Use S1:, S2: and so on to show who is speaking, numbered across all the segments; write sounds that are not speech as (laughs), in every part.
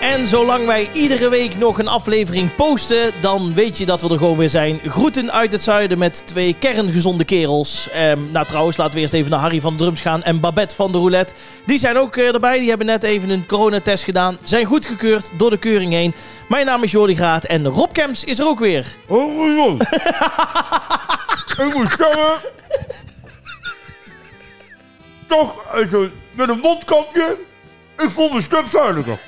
S1: En zolang wij iedere week nog een aflevering posten, dan weet je dat we er gewoon weer zijn. Groeten uit het zuiden met twee kerngezonde kerels. Ehm, nou trouwens, laten we eerst even naar Harry van de Drums gaan en Babette van de Roulette. Die zijn ook eh, erbij, die hebben net even een coronatest gedaan. Zijn goedgekeurd door de keuring heen. Mijn naam is Jordi Graat en Rob Kemps is er ook (laughs) weer.
S2: Oh, ik moet zeggen. Toch, eh, zo, met een mondkapje. Ik voel me een stuk zuiniger.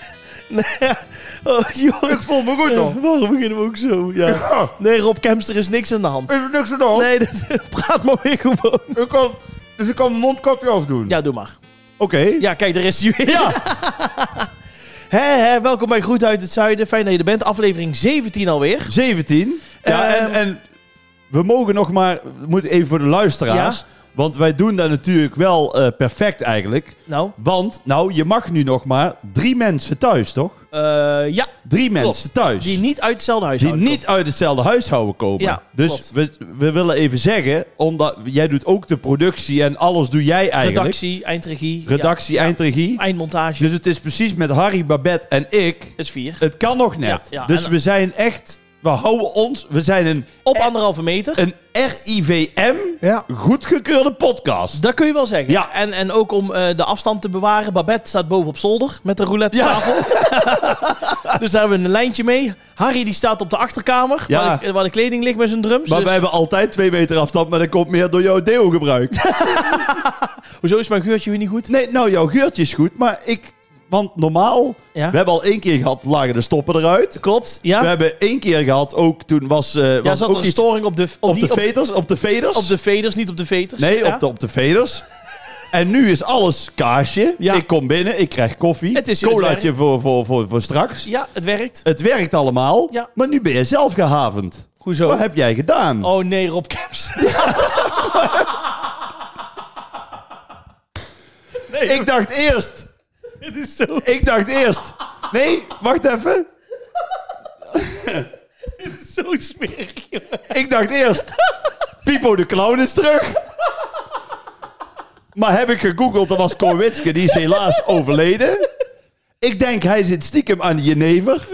S1: oh,
S2: Ik voel me goed dan.
S1: waarom beginnen we ook zo?
S2: Ja,
S1: Nee, Rob Kemps, er is niks aan de hand.
S2: is er niks aan de hand.
S1: Nee, (laughs) dus, praat maar weer gewoon.
S2: Ik kan, dus ik kan mijn mondkapje afdoen.
S1: Ja, doe maar.
S2: Oké.
S1: Ja, kijk, daar is hij weer. (laughs) Hé, hé, welkom bij Groet uit het Zuiden. Fijn dat je er bent. Aflevering 17 alweer.
S3: 17. Ja,
S1: Ehm.
S3: en, en we mogen nog maar, we moeten even voor de luisteraars.
S1: Ja.
S3: Want wij doen dat natuurlijk wel eh, perfect eigenlijk.
S1: Nou,
S3: Want, nou, je mag nu nog maar drie mensen thuis, toch?
S1: eh, ja,
S3: Drie mensen thuis.
S1: die niet uit hetzelfde huis
S3: die niet uit hetzelfde huishouden komen.
S1: Ja,
S3: dus
S1: klopt.
S3: we, we willen even zeggen, omdat jij doet ook de productie en alles doe jij eigenlijk.
S1: Redactie, eindregie.
S3: Redactie, eindregie.
S1: ja, eindmontage.
S3: Dus het is precies met Harry, Babette en ik.
S1: Dat is vier.
S3: Het kan nog net.
S1: Ja, ja,
S3: dus
S1: en-
S3: we zijn echt, we houden ons, we zijn een
S1: Op anderhalve meter.
S3: een RIVM
S1: Ja.
S3: goedgekeurde podcast.
S1: Dus Dat kun je wel zeggen.
S3: Ja.
S1: En, en ook om eh, de afstand te bewaren. Babette staat boven op zolder met de roulette (laughs) tafel. dus daar hebben we een lijntje mee. Harry die staat op de achterkamer.
S3: Ja.
S1: Waar, de, waar de kleding ligt met zijn drums.
S3: Maar
S1: Dus-
S3: wij hebben altijd twee meter afstand, maar dat komt meer door
S1: (laughs)
S3: jouw deo-gebruik.
S1: Hoezo is mijn geurtje weer niet goed?
S3: nee, nou, jouw geurtje is goed, maar ik... Want normaal,
S1: Ja.
S3: we hebben al één keer gehad, lagen de stoppen eruit.
S1: Klopt. Ja.
S3: We hebben één keer gehad, ook toen was, eh,
S1: Ja,
S3: was
S1: zat
S3: ook
S1: er een
S3: iets
S1: storing op de,
S3: op,
S1: die-
S3: de veters, op de veders.
S1: op de veders, niet op de veters.
S3: nee,
S1: Ja.
S3: op, de, op de
S1: (laughs)
S3: veders. En nu is alles kaasje.
S1: Ja.
S3: Ik kom binnen, ik krijg koffie.
S1: Het is- het
S3: Colaatje voor, voor, voor, voor straks.
S1: Ja, het werkt.
S3: Het werkt allemaal,
S1: Ja.
S3: maar nu ben je zelf gehavend.
S1: Hoezo?
S3: Wat heb jij gedaan?
S1: Oh nee, Rob Kemps.
S3: (laughs)
S1: nee,
S3: Ik dacht eerst.
S1: het is zo.
S3: Ik dacht eerst. Nee, wacht even.
S1: Zo smerig, joh.
S3: Ik dacht eerst. Pipo de clown is terug. Maar heb ik gegoogeld, dat was Korwitske. Die is helaas overleden. Ik denk, hij zit stiekem aan de jenever.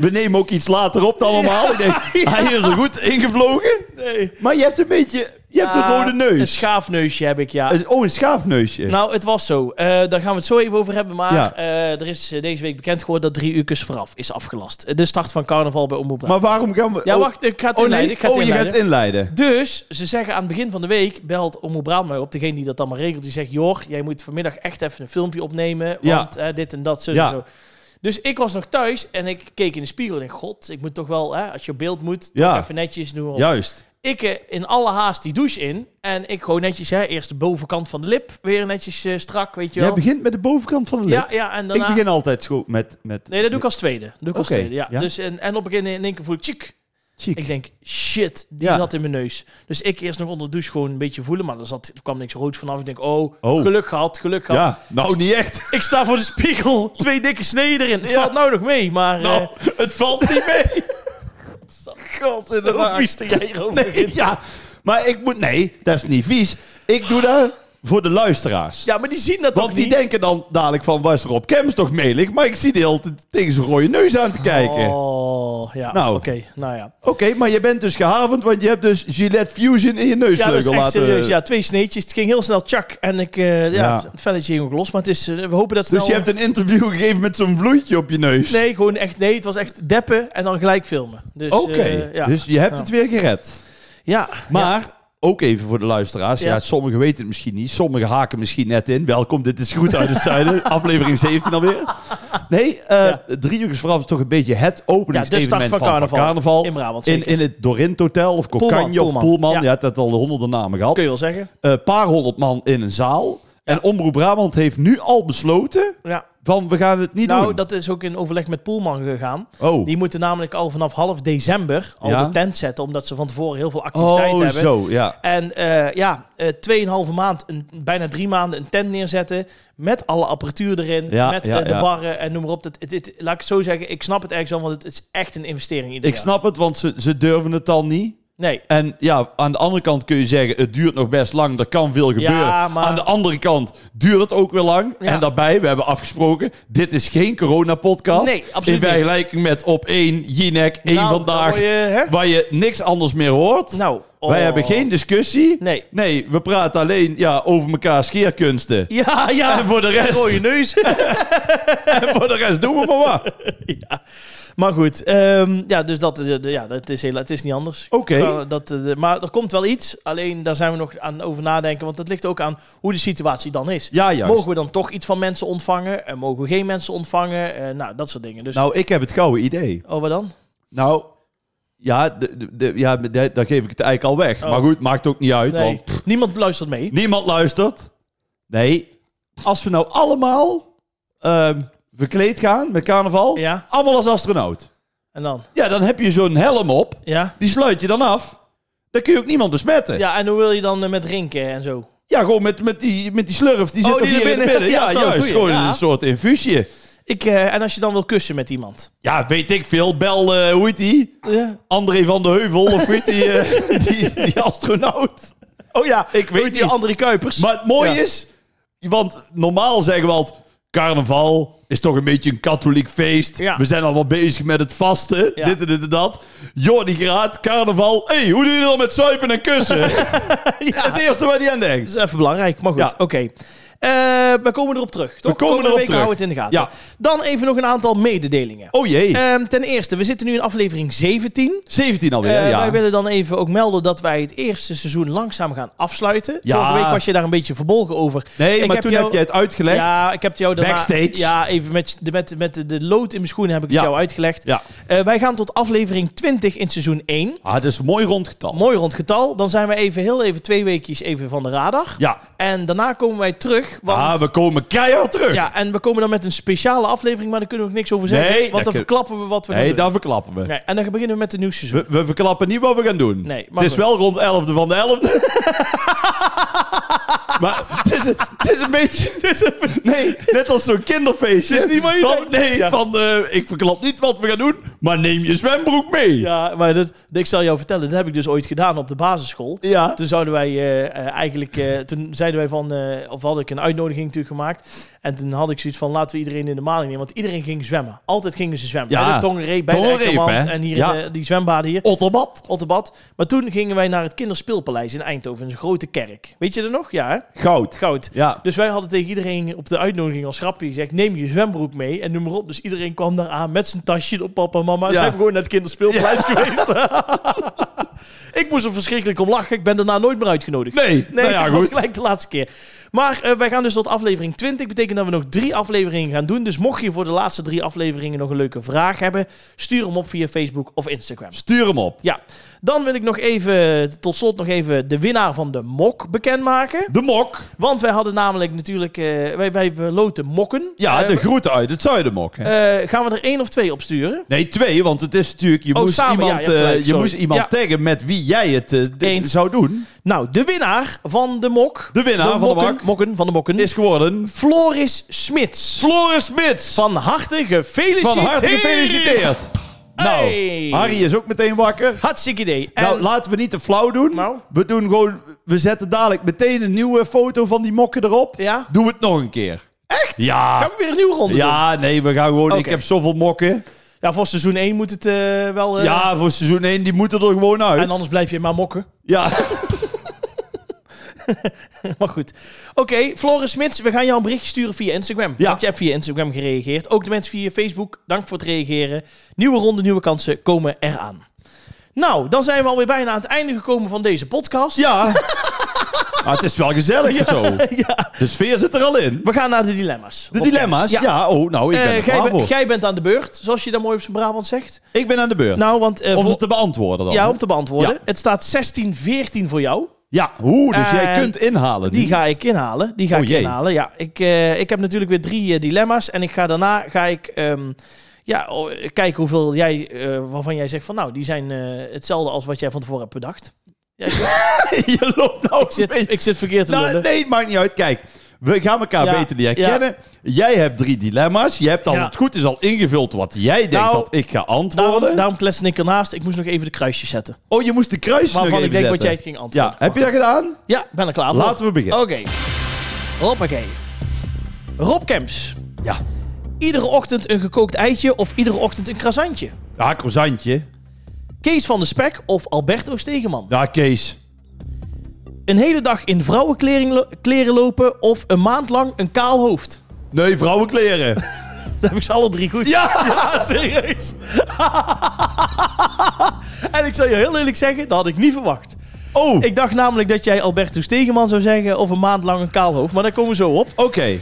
S3: We nemen ook iets later op dan allemaal. Ik denk, hij is er goed ingevlogen.
S1: Nee.
S3: Maar je hebt een beetje... Je hebt een rode
S1: Een
S3: neus.
S1: schaafneusje heb ik, ja.
S3: Een- Oh, een schaafneusje.
S1: Nou, het was zo. Eh, daar gaan we het zo even over hebben. Maar
S3: Ja.
S1: eh, er is eh, deze week bekend geworden dat drie uur vooraf is afgelast. Eh, De start van carnaval bij Omroep Brabant.
S3: maar waarom gaan we...
S1: Ja,
S3: oh,
S1: wacht. Ik ga het
S3: Oh,
S1: inleiden.
S3: nee.
S1: Ik ga het
S3: oh je
S1: inleiden.
S3: gaat inleiden.
S1: Dus ze zeggen aan het begin van de week belt Omroep Brabant mij op. Degene die dat allemaal regelt, die zegt: Joh, jij moet vanmiddag echt even een filmpje opnemen. Want
S3: Ja.
S1: hè, dit en dat, zo en
S3: Ja.
S1: zo. Dus ik was nog thuis en ik keek in de spiegel en ik god, ik moet toch wel, hè, als je op beeld moet,
S3: Ja.
S1: toch even netjes doen.
S3: Juist.
S1: Ik eh, in alle haast die douche in en ik gewoon netjes, hè, eerst de bovenkant van de lip weer netjes eh, strak, weet je
S3: Jij
S1: wel.
S3: begint met de bovenkant van de lip.
S1: ja, ja, en daarna...
S3: Ik begin altijd zo met... met
S1: Nee, dat doe ik als tweede. Dat doe ik als
S3: Oké,
S1: tweede, ja.
S3: ja.
S1: Dus en, en op een gegeven moment in één keer voel ik, tjik,
S3: Chic.
S1: ik denk, shit, die
S3: Ja.
S1: zat in mijn neus. Dus ik eerst nog onder de douche gewoon een beetje voelen, maar er, zat, er kwam niks rood vanaf. Ik denk, oh,
S3: Oh.
S1: geluk gehad, geluk gehad.
S3: Ja, nou niet echt.
S1: Ik sta voor de
S3: (laughs)
S1: spiegel, twee dikke sneden erin. Het
S3: Ja.
S1: valt nou nog mee, maar...
S3: Nou,
S1: eh,
S3: het valt niet
S1: (laughs)
S3: mee. God,
S1: hoe
S3: inderdaad.
S1: vies dat jij erover
S3: Nee,
S1: begint.
S3: ja, maar ik moet... Nee, dat is niet vies. Ik doe dat voor de luisteraars.
S1: Ja, maar die zien dat
S3: Want
S1: toch
S3: die
S1: niet?
S3: denken dan dadelijk van, was Rob Kems toch melig? Maar ik zie de hele tijd tegen zijn rode neus aan te kijken.
S1: Oh, ja,
S3: Nou.
S1: oké, nou ja.
S3: Oké, maar je bent dus gehavend, want je hebt dus Gillette Fusion in je
S1: Ja, dat is
S3: neusvleugel
S1: echt
S3: laten...
S1: serieus. Ja, twee sneetjes. Het ging heel snel, tjak. En ik, eh, ja,
S3: Ja.
S1: het velletje ging ook los. Maar het is, eh, we hopen dat snel...
S3: Dus je hebt een interview gegeven met zo'n vloeitje op je neus.
S1: Nee, gewoon echt, nee, het was echt deppen en dan gelijk filmen. Dus,
S3: Oké,
S1: eh, ja.
S3: dus je hebt
S1: Ja.
S3: het weer gered.
S1: ja.
S3: Maar ook even voor de luisteraars. Ja.
S1: Ja.
S3: sommigen weten het misschien niet. Sommigen haken misschien net in. Welkom, dit is Goed uit het
S1: (laughs)
S3: Zuiden. aflevering 17 alweer. Nee, eh
S1: Ja.
S3: drie uur is vooraf is toch een beetje het openingsevenement
S1: Ja, de start van
S3: van, van carnaval.
S1: carnaval. In Brabant,
S3: In,
S1: zeker.
S3: in het Dorint Hotel of
S1: Poelman,
S3: Cocagne of
S1: Poelman.
S3: Poelman.
S1: Ja.
S3: Je hebt dat al honderden namen gehad.
S1: kun je wel zeggen.
S3: Een paar honderd man in een zaal. En Omroep Brabant heeft nu al besloten
S1: Ja.
S3: van we gaan het niet
S1: Nou,
S3: doen.
S1: dat is ook in overleg met Poelman gegaan.
S3: oh,
S1: Die moeten namelijk al vanaf half december al
S3: Ja.
S1: de tent zetten, omdat ze van tevoren heel veel activiteit
S3: oh
S1: hebben.
S3: zo, ja.
S1: En eh ja, eh, tweeënhalve maand, een, bijna drie maanden een tent neerzetten. Met alle apparatuur erin,
S3: Ja,
S1: met
S3: ja,
S1: eh, de
S3: ja.
S1: barren en noem maar op. Dat, het, het- laat ik het zo zeggen, ik snap het ergens wel, want het is echt een investering. ieder
S3: Ik
S1: jaar.
S3: snap het, want ze, ze durven het dan niet.
S1: Nee.
S3: En ja, aan de andere kant kun je zeggen, het duurt nog best lang, er kan veel gebeuren.
S1: maar-
S3: Aan de andere kant duurt het ook weer lang.
S1: Ja.
S3: En daarbij, we hebben afgesproken, dit is geen corona-podcast.
S1: Nee, absoluut
S3: In
S1: niet.
S3: vergelijking met op één, Jinek, één
S1: Nou,
S3: vandaag,
S1: dan word je, hè?
S3: waar je niks anders meer hoort.
S1: Nou, oh.
S3: Wij hebben geen discussie.
S1: Nee.
S3: Nee, we praten alleen ja, over elkaar scheerkunsten.
S1: (laughs) Ja, ja.
S3: En voor de rest-
S1: Rode
S3: (laughs)
S1: neus. (laughs)
S3: En (laughs) voor de rest doen we maar wat. Oké,
S1: ja. Maar goed, ehm, ja, dus dat, eh, de- ja, dat is heel, het is niet anders. Ja, Dat, eh, de- maar er komt wel iets, alleen daar zijn we nog aan over nadenken, want dat ligt ook aan hoe de situatie dan is.
S3: ja juist.
S1: Mogen we dan toch iets van mensen ontvangen? En mogen we geen mensen ontvangen? Eh, nou, dat soort dingen. Dus,
S3: Nou, ik heb het gouden idee.
S1: oh, wat dan?
S3: Nou, ja, de, de- de, ja de- daar geef ik het eigenlijk al weg.
S1: Oh.
S3: Maar goed, maakt ook niet uit,
S1: Nee,
S3: want
S1: niemand luistert mee.
S3: niemand luistert. Nee, als we nou allemaal ehm, verkleed gaan met carnaval,
S1: Ja.
S3: allemaal als astronaut.
S1: En dan?
S3: Ja, dan heb je zo'n helm op,
S1: Ja?
S3: die sluit je dan af. Dan kun je ook niemand besmetten. Ja,
S1: Ja, en hoe wil je dan eh, met drinken en zo?
S3: gewoon met, met, die, met die slurf, die
S1: Oh,
S3: zit
S1: die
S3: er hier
S1: er
S3: in de
S1: binnen.
S3: midden. Ja,
S1: Ja, zo,
S3: juist,
S1: goeie,
S3: gewoon
S1: ja.
S3: een soort infusie.
S1: Ik, eh, en als je dan wil kussen met iemand?
S3: Ja, weet ik veel. Bel, eh, hoe heet die?
S1: Ja.
S3: André van de Heuvel of weet die, eh, (laughs) die, die astronaut?
S1: Oh ja,
S3: Ik weet
S1: die
S3: niet.
S1: André Kuipers.
S3: Maar het mooie
S1: Ja.
S3: is, want normaal zeggen we altijd... Carnaval is toch een beetje een katholiek feest.
S1: Ja.
S3: We zijn allemaal bezig met het vasten.
S1: Ja.
S3: Dit en dit en dat. Jordi Graat, carnaval. hey, hoe doe je dat met zuipen en
S1: (laughs)
S3: kussen?
S1: ja.
S3: Het eerste waar die aan denkt.
S1: Dat is even belangrijk, maar goed,
S3: Ja.
S1: oké. Eh, we komen erop terug, toch?
S3: We komen
S1: Komende
S3: erop
S1: week
S3: terug.
S1: houden we het in de gaten.
S3: Ja.
S1: Dan even nog een aantal mededelingen.
S3: Oh jee,
S1: Ehm, ten eerste, we zitten nu in aflevering 17.
S3: 17 alweer.
S1: Eh,
S3: ja.
S1: Wij willen dan even ook melden dat wij het eerste seizoen langzaam gaan afsluiten.
S3: Ja.
S1: Vorige week was je daar een beetje verbolgen over.
S3: nee,
S1: ik
S3: maar
S1: heb
S3: toen
S1: jou-
S3: heb jij het uitgelegd. Ja.
S1: Ja, ik heb jou daarna...
S3: Backstage.
S1: Ja, even met de, met, met de, de lood in mijn schoenen heb ik
S3: Ja.
S1: het jou uitgelegd. Eh, wij gaan tot aflevering 20 in seizoen 1.
S3: Ah, dat is een mooi rondgetal.
S1: Mooi rond getal. Dan zijn we even heel even twee weekjes even van de radar.
S3: ja.
S1: En daarna komen wij terug. Want
S3: Ah, we komen keihard terug.
S1: Ja, en we komen dan met een speciale aflevering, maar daar kunnen we ook niks over zeggen.
S3: Nee,
S1: want dan
S3: dat kun-
S1: verklappen we wat we
S3: Nee,
S1: gaan doen.
S3: daar verklappen we.
S1: Nee, en dan beginnen we met een nieuw seizoen.
S3: we. We verklappen niet wat we gaan doen.
S1: Nee, maar
S3: Het
S1: goed.
S3: is wel rond 11e van de 11e. (laughs) maar het is, een- het is een beetje. het is een- nee, net als zo'n kinderfeestje.
S1: Het is niet wat je
S3: van,
S1: denkt.
S3: Nee,
S1: Ja.
S3: van eh, ik verklap niet wat we gaan doen, maar neem je zwembroek mee.
S1: Ja, maar dat, ik zal jou vertellen, dat heb ik dus ooit gedaan op de basisschool.
S3: Ja.
S1: Toen zouden wij eh, eh, eigenlijk, eh, toen zeiden wij van, eh, of had ik een uitnodiging natuurlijk gemaakt. En toen had ik zoiets van, laten we iedereen in de maling nemen. Want iedereen ging zwemmen. Altijd gingen ze zwemmen.
S3: Ja.
S1: Bij de Tongreep, bij
S3: Tongenreep,
S1: de Ekkermand
S3: hè?
S1: en hier
S3: Ja.
S1: in, eh, die zwembaden hier.
S3: Otterbad.
S1: Otterbad. Maar toen gingen wij naar het kinderspeelpaleis in Eindhoven, een grote kerk. Weet je dat nog? Ja, hè?
S3: Goud.
S1: Goud.
S3: Ja.
S1: Dus wij hadden tegen iedereen op de uitnodiging als grapje gezegd: neem je zwembroek mee en noem maar op. Dus iedereen kwam daar aan met zijn tasje op papa en mama. Ze
S3: Ja.
S1: hebben gewoon naar het kinderspeelpleis (laughs) geweest. ik moest er verschrikkelijk om lachen. Ik ben daarna nooit meer uitgenodigd.
S3: Nee,
S1: nee
S3: nou ja,
S1: dat was
S3: goed.
S1: gelijk de laatste keer. Maar eh, wij gaan dus tot aflevering 20. Betekent dat we nog drie afleveringen gaan doen. Dus mocht je voor de laatste drie afleveringen nog een leuke vraag hebben, stuur hem op via Facebook of Instagram.
S3: Stuur hem op.
S1: Ja, dan wil ik nog even, tot slot nog even de winnaar van de mok bekendmaken.
S3: De mok.
S1: Want wij hadden namelijk natuurlijk, eh, wij, wij loten mokken.
S3: Ja,
S1: Eh,
S3: de groeten uit het zuidenmok. hè.
S1: eh, gaan we er één of twee op sturen?
S3: Nee, twee, want het is natuurlijk... Je
S1: Oh,
S3: moest
S1: samen, ja,
S3: iemand,
S1: je hebt
S3: eh,
S1: gelijk,
S3: je
S1: sorry.
S3: moest iemand
S1: Ja.
S3: taggen met wie jij het eh, d-
S1: Eens.
S3: zou doen.
S1: Nou, de winnaar van de mok.
S3: De winnaar van de
S1: mokken,
S3: mok.
S1: mokken van de mokken
S3: Is geworden...
S1: Floris Smits.
S3: Floris Smits.
S1: Van harte gefeliciteerd.
S3: Van harte gefeliciteerd. Nou,
S1: Hey.
S3: Harry is ook meteen wakker.
S1: Hartstikke idee. En
S3: nou, laten we niet te flauw doen.
S1: Nou?
S3: We doen gewoon... We zetten dadelijk meteen een nieuwe foto van die mokken erop.
S1: Ja?
S3: Doen we het nog een keer. Echt? Ja.
S1: gaan we weer een nieuwe ronde doen?
S3: Ja, nee, we gaan gewoon... Ik
S1: Oké.
S3: heb zoveel mokken.
S1: Ja, voor seizoen 1 moet het eh, wel... eh,
S3: ja, voor seizoen 1, die moeten er gewoon uit.
S1: En anders blijf je maar mokken.
S3: Ja.
S1: Maar goed. Oké, Floris Smits, we gaan jou een berichtje sturen via Instagram.
S3: Ja.
S1: Want je hebt via Instagram gereageerd. Ook de mensen via Facebook, dank voor het reageren. Nieuwe ronde, nieuwe kansen komen eraan. Nou, dan zijn we alweer bijna aan het einde gekomen van deze podcast.
S3: ja. maar het is wel gezellig en zo.
S1: (laughs)
S3: De sfeer zit er al in.
S1: We gaan naar de dilemma's.
S3: De
S1: Rob
S3: dilemma's?
S1: Kemps.
S3: Ja. oh, nou, ik ben
S1: Eh,
S3: er
S1: jij,
S3: klaar
S1: ben-
S3: voor.
S1: jij bent aan de beurt, zoals je dat mooi op zijn Brabant zegt.
S3: Ik ben aan de beurt.
S1: Nou, want... eh,
S3: om ze
S1: voor-
S3: te beantwoorden dan.
S1: ja, om te beantwoorden.
S3: Ja.
S1: Het staat 16-14 voor jou.
S3: Ja, hoe? Dus jij
S1: En
S3: kunt inhalen.
S1: Eh, Die
S3: nu.
S1: ga ik inhalen. Die ga
S3: Oh,
S1: ik
S3: jee.
S1: inhalen. Ja, ik, eh, ik heb natuurlijk weer drie eh, dilemma's. En ik ga daarna ga ik, ehm, ja, o- kijken hoeveel jij, eh, waarvan jij zegt van nou, die zijn eh, hetzelfde als wat jij van tevoren hebt bedacht. Ja, ik,
S3: (laughs) je loopt nou
S1: zit,
S3: een beetje-
S1: ik zit verkeerd te
S3: Nou,
S1: lullen.
S3: nee, het maakt niet uit. Kijk, We gaan elkaar
S1: Ja,
S3: beter leren kennen. Jij hebt drie dilemma's. Je hebt al
S1: Ja.
S3: het goed is al ingevuld wat jij denkt
S1: Nou,
S3: dat ik ga antwoorden.
S1: Daarom, daarom kletste ik ernaast. Ik moest nog even de kruisjes zetten.
S3: oh, je moest de kruis nog
S1: Waarvan
S3: even
S1: ik denk wat
S3: zetten.
S1: jij het ging antwoorden.
S3: Ja, heb je dat gedaan?
S1: Ja, ben er klaar voor.
S3: Laten we beginnen.
S1: Oké. Hoppakee. Rob Kemps.
S3: Ja.
S1: Iedere ochtend een gekookt eitje of iedere ochtend een krasantje?
S3: Ja, croissantje.
S1: Kees van de Spek of Alberto Stegeman?
S3: Ja, Kees.
S1: Een hele dag in vrouwenkleren lo- kleren lopen of een maand lang een kaal hoofd? (laughs)
S3: Nee, vrouwenkleren.
S1: Dan heb ik ze alle drie goed. (laughs)
S3: ja!
S1: serieus. (laughs) en ik zal je heel eerlijk zeggen, dat had ik niet verwacht.
S3: Oh, oké.
S1: Ik dacht namelijk dat jij Alberto Stegeman zou zeggen of een maand lang een kaal hoofd. Maar daar komen we zo op.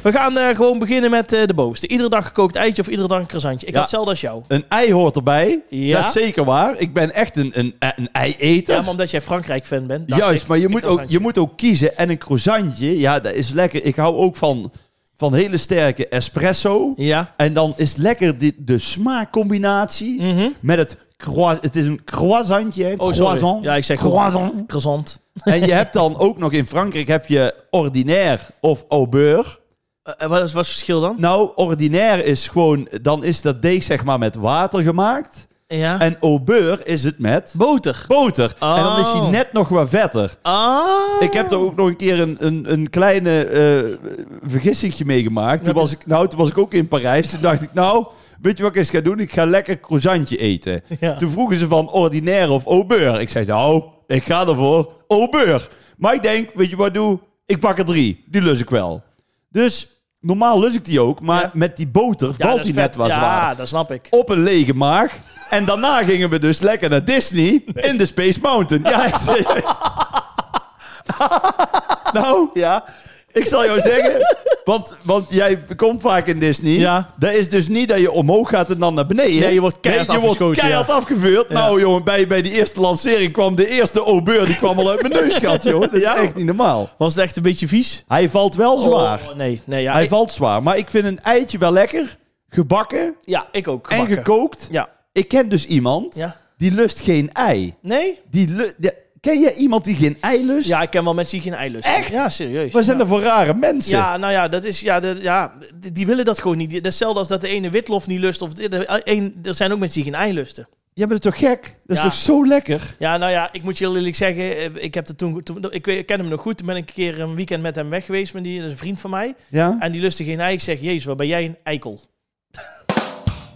S1: We gaan eh, gewoon beginnen met eh, de bovenste. Iedere dag gekookt eitje of iedere dag een croissantje. Ik
S3: Ja.
S1: had hetzelfde als jou.
S3: Een ei hoort erbij.
S1: Ja.
S3: Dat is zeker waar. Ik ben echt een, een, een ei-eter.
S1: Ja, maar omdat jij Frankrijk-fan bent. dacht
S3: Juist,
S1: ik,
S3: maar je
S1: een
S3: moet, ook,
S1: croissantje.
S3: je moet ook kiezen. En een croissantje, ja, dat is lekker. Ik hou ook van, van hele sterke espresso.
S1: Ja.
S3: En dan is lekker dit, de smaakcombinatie
S1: Mhm.
S3: met het croi- Het is een croissantje. hè?
S1: Oh, sorry.
S3: croissant.
S1: Ja, ik zeg gewoon-
S3: croissant.
S1: Croissant.
S3: En je hebt dan ook nog in Frankrijk heb je ordinaire of au beurre.
S1: Eh, eh, wat, is, wat is het verschil dan?
S3: Nou, ordinaire is gewoon, dan is dat deeg zeg maar met water gemaakt.
S1: Ja.
S3: En au beurre is het met
S1: Boter.
S3: boter. En dan is hij
S1: Oh.
S3: net nog wat vetter.
S1: Ah.
S3: Ik heb er ook nog een keer een, een, een kleine eh vergissingje meegemaakt. Toen
S1: Heb je-
S3: was, ik, nou, toen was ik ook in Parijs. Toen dacht ik, nou, weet je wat ik eens ga doen? Ik ga lekker croissantje eten.
S1: Ja.
S3: Toen vroegen ze van ordinaire of au beurre. Ik zei, nou, ik ga ervoor au beurre. Maar ik denk, weet je wat ik doe? Ik pak er drie. Die lus ik wel. Dus normaal lus ik die ook. Maar
S1: Ja.
S3: met die boter
S1: Ja,
S3: valt
S1: dat is
S3: die
S1: vet.
S3: net wat
S1: ja,
S3: zwaar.
S1: dat snap ik.
S3: Op een lege maag. En daarna gingen we dus lekker naar Disney in de Space Mountain.
S1: (laughs)
S3: Ja, serieus. nou,
S1: Ja.
S3: ik zal jou zeggen, want, want jij komt vaak in Disney.
S1: Ja.
S3: Dat is dus niet dat je omhoog gaat en dan naar beneden.
S1: Nee, je wordt keihard
S3: je wordt
S1: afgeschoten,
S3: keihard
S1: ja.
S3: afgevuurd.
S1: Ja.
S3: Nou jongen, bij, bij die eerste lancering kwam de eerste obeur, die kwam al uit mijn neusgat, joh. Dat is echt niet normaal.
S1: Was het echt een beetje vies?
S3: Hij valt wel zwaar.
S1: Oh, nee, nee. Ja,
S3: Hij
S1: ik,
S3: valt zwaar, maar ik vind een eitje wel lekker. Gebakken,
S1: ja, ik ook.
S3: en
S1: gebakken.
S3: gekookt.
S1: Ja.
S3: Ik ken dus iemand
S1: ja.
S3: die lust geen ei.
S1: Nee?
S3: Die lu- de- ken jij iemand die geen ei lust?
S1: Ja, ik ken wel mensen die geen ei lusten.
S3: Echt?
S1: Ja, serieus.
S3: Wat zijn
S1: ja.
S3: er voor rare mensen?
S1: Ja, nou ja, dat is, ja, de, ja, die die willen dat gewoon niet. Die- dat is Hetzelfde als dat de ene witlof niet lust. Of de, de- een, er zijn ook mensen die geen ei lusten.
S3: Jij bent toch gek? Dat is
S1: Ja.
S3: toch zo lekker?
S1: Ja, nou ja, ik moet je heel eerlijk zeggen, eh, ik, heb dat toen, toen, ik, weet- ik ken hem nog goed. Toen ben ik een keer een weekend met hem weg geweest, met die, dat is een vriend van mij.
S3: Ja?
S1: En die lustte geen ei. Ik zeg, jezus, wat ben jij een eikel.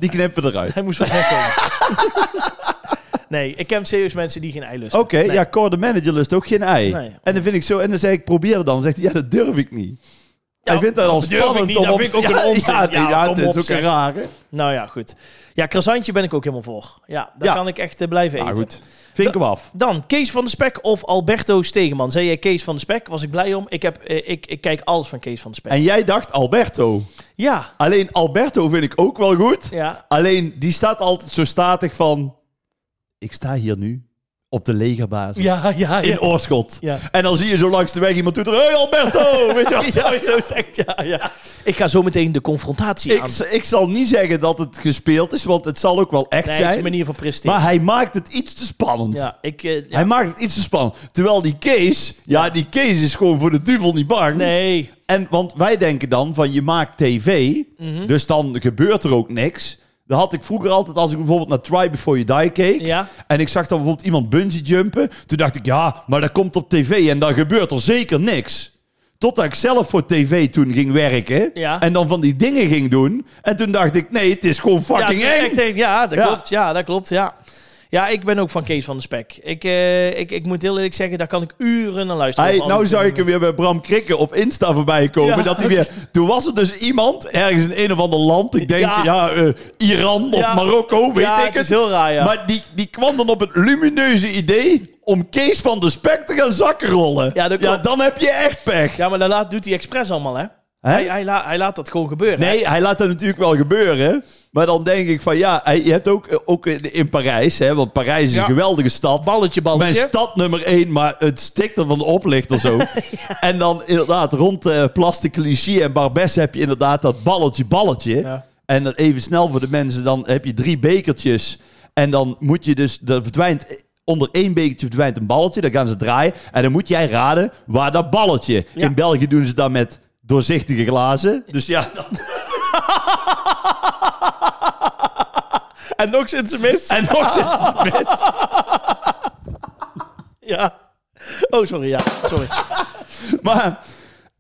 S3: Die knippen we eruit.
S1: Hij moest wel wegkomen. (laughs) nee, ik ken serieus mensen die geen ei lusten.
S3: (laughs) Oké,
S1: Nee.
S3: ja, Cor de manager lust ook geen ei.
S1: Nee.
S3: En dan vind ik zo, en dan zeg ik, probeer het dan. Dan zegt hij, ja, dat durf ik niet.
S1: Ja,
S3: hij vindt dat al
S1: dat durf ik
S3: spannend.
S1: niet,
S3: om
S1: dat
S3: op-
S1: vind ik ook
S3: (laughs) ja,
S1: een onzin.
S3: Ja, nee,
S1: Ja,
S3: ja,
S1: kom
S3: dat is
S1: op,
S3: ook een
S1: zeg.
S3: rare.
S1: Nou ja, goed. Ja, croissantje ben ik ook helemaal voor. Ja, daar
S3: Ja.
S1: kan ik echt eh, blijven
S3: Maar
S1: eten.
S3: goed, vink hem af.
S1: Dan Kees van de Spek of Alberto Stegeman. Zei jij Kees van de Spek? Was ik blij om. Ik, heb, eh, ik, ik kijk alles van Kees van de Spek.
S3: En jij dacht Alberto.
S1: Ja,
S3: Alleen Alberto vind ik ook wel goed.
S1: ja.
S3: Alleen, die staat altijd zo statig van... Ik sta hier nu op de legerbasis
S1: Ja, ja,
S3: in Oorschot.
S1: Ja.
S3: En dan zie je zo langs de weg iemand toeteren... Hé, hey,
S1: (laughs)
S3: Alberto! Weet je wel?
S1: Ja, zo zegt, ja, ja. Ik ga zo meteen de confrontatie
S3: Ik,
S1: aan.
S3: z- ik zal niet zeggen dat het gespeeld is, want het zal ook wel echt
S1: Nee, het is
S3: zijn.
S1: een manier van presteren.
S3: Maar hij maakt het iets te spannend.
S1: ja, ik, eh, ja.
S3: Hij maakt het iets te spannend. Terwijl die Kees, ja, die Kees is gewoon voor de duivel niet bang.
S1: Nee.
S3: En, want wij denken dan van je maakt tv,
S1: Mhm.
S3: dus dan gebeurt er ook niks. Dat had ik vroeger altijd als ik bijvoorbeeld naar Try Before You Die keek.
S1: Ja.
S3: En ik zag dan bijvoorbeeld iemand bungee jumpen. Toen dacht ik, ja, maar dat komt op tv en dan gebeurt er zeker niks. Totdat ik zelf voor tv toen ging werken.
S1: Ja.
S3: En dan van die dingen ging doen. En toen dacht ik, nee, het is gewoon
S1: Ja, het
S3: fucking
S1: is
S3: eng.
S1: echt eng. ja, dat
S3: Ja.
S1: klopt. Ja, dat klopt. Ja. Ja, ik ben ook van Kees van de Spek. Ik, eh, ik, ik moet heel eerlijk zeggen, daar kan ik uren naar luisteren.
S3: Hij,
S1: Van alle
S3: nou zou ik
S1: filmen.
S3: hem weer bij Bram Krikke op Insta voorbij komen.
S1: Ja.
S3: dat hij weer, toen was er dus iemand ergens in een of ander land. Ik denk,
S1: Ja.
S3: ja, eh, Iran of
S1: Ja.
S3: Marokko, weet
S1: Ja,
S3: ik
S1: het is heel raar, ja.
S3: Maar die, die kwam dan op het lumineuze idee om Kees van de Spek te gaan zakken rollen.
S1: Ja, dat klopt.
S3: dan heb je echt pech.
S1: Ja, maar dat laat, doet hij expres allemaal, hè?
S3: Hè?
S1: Hij, hij, la- hij laat dat gewoon gebeuren. hè?
S3: Nee, hij laat dat natuurlijk wel gebeuren. Maar dan denk ik van ja, hij- je hebt ook, eh, ook in in Parijs, hè, want Parijs is
S1: Ja.
S3: een geweldige stad.
S1: Balletje, balletje.
S3: Mijn stad nummer één, maar het stikt er van de oplichter
S1: (laughs)
S3: zo. En dan inderdaad, rond eh Plastic Clichy en Barbès heb je inderdaad dat balletje, balletje.
S1: Ja.
S3: En dat even snel voor de mensen, dan heb je drie bekertjes. En dan moet je dus, er verdwijnt, onder één bekertje verdwijnt een balletje. Dan gaan ze draaien. En dan moet jij raden waar dat balletje.
S1: Ja.
S3: In België doen ze dat met doorzichtige glazen. Dus ja,
S1: En nog sinds ze mis.
S3: en nog
S1: (laughs)
S3: zit het mis.
S1: Ja. Oh, sorry, ja.
S3: (laughs)
S1: Sorry.
S3: Maar,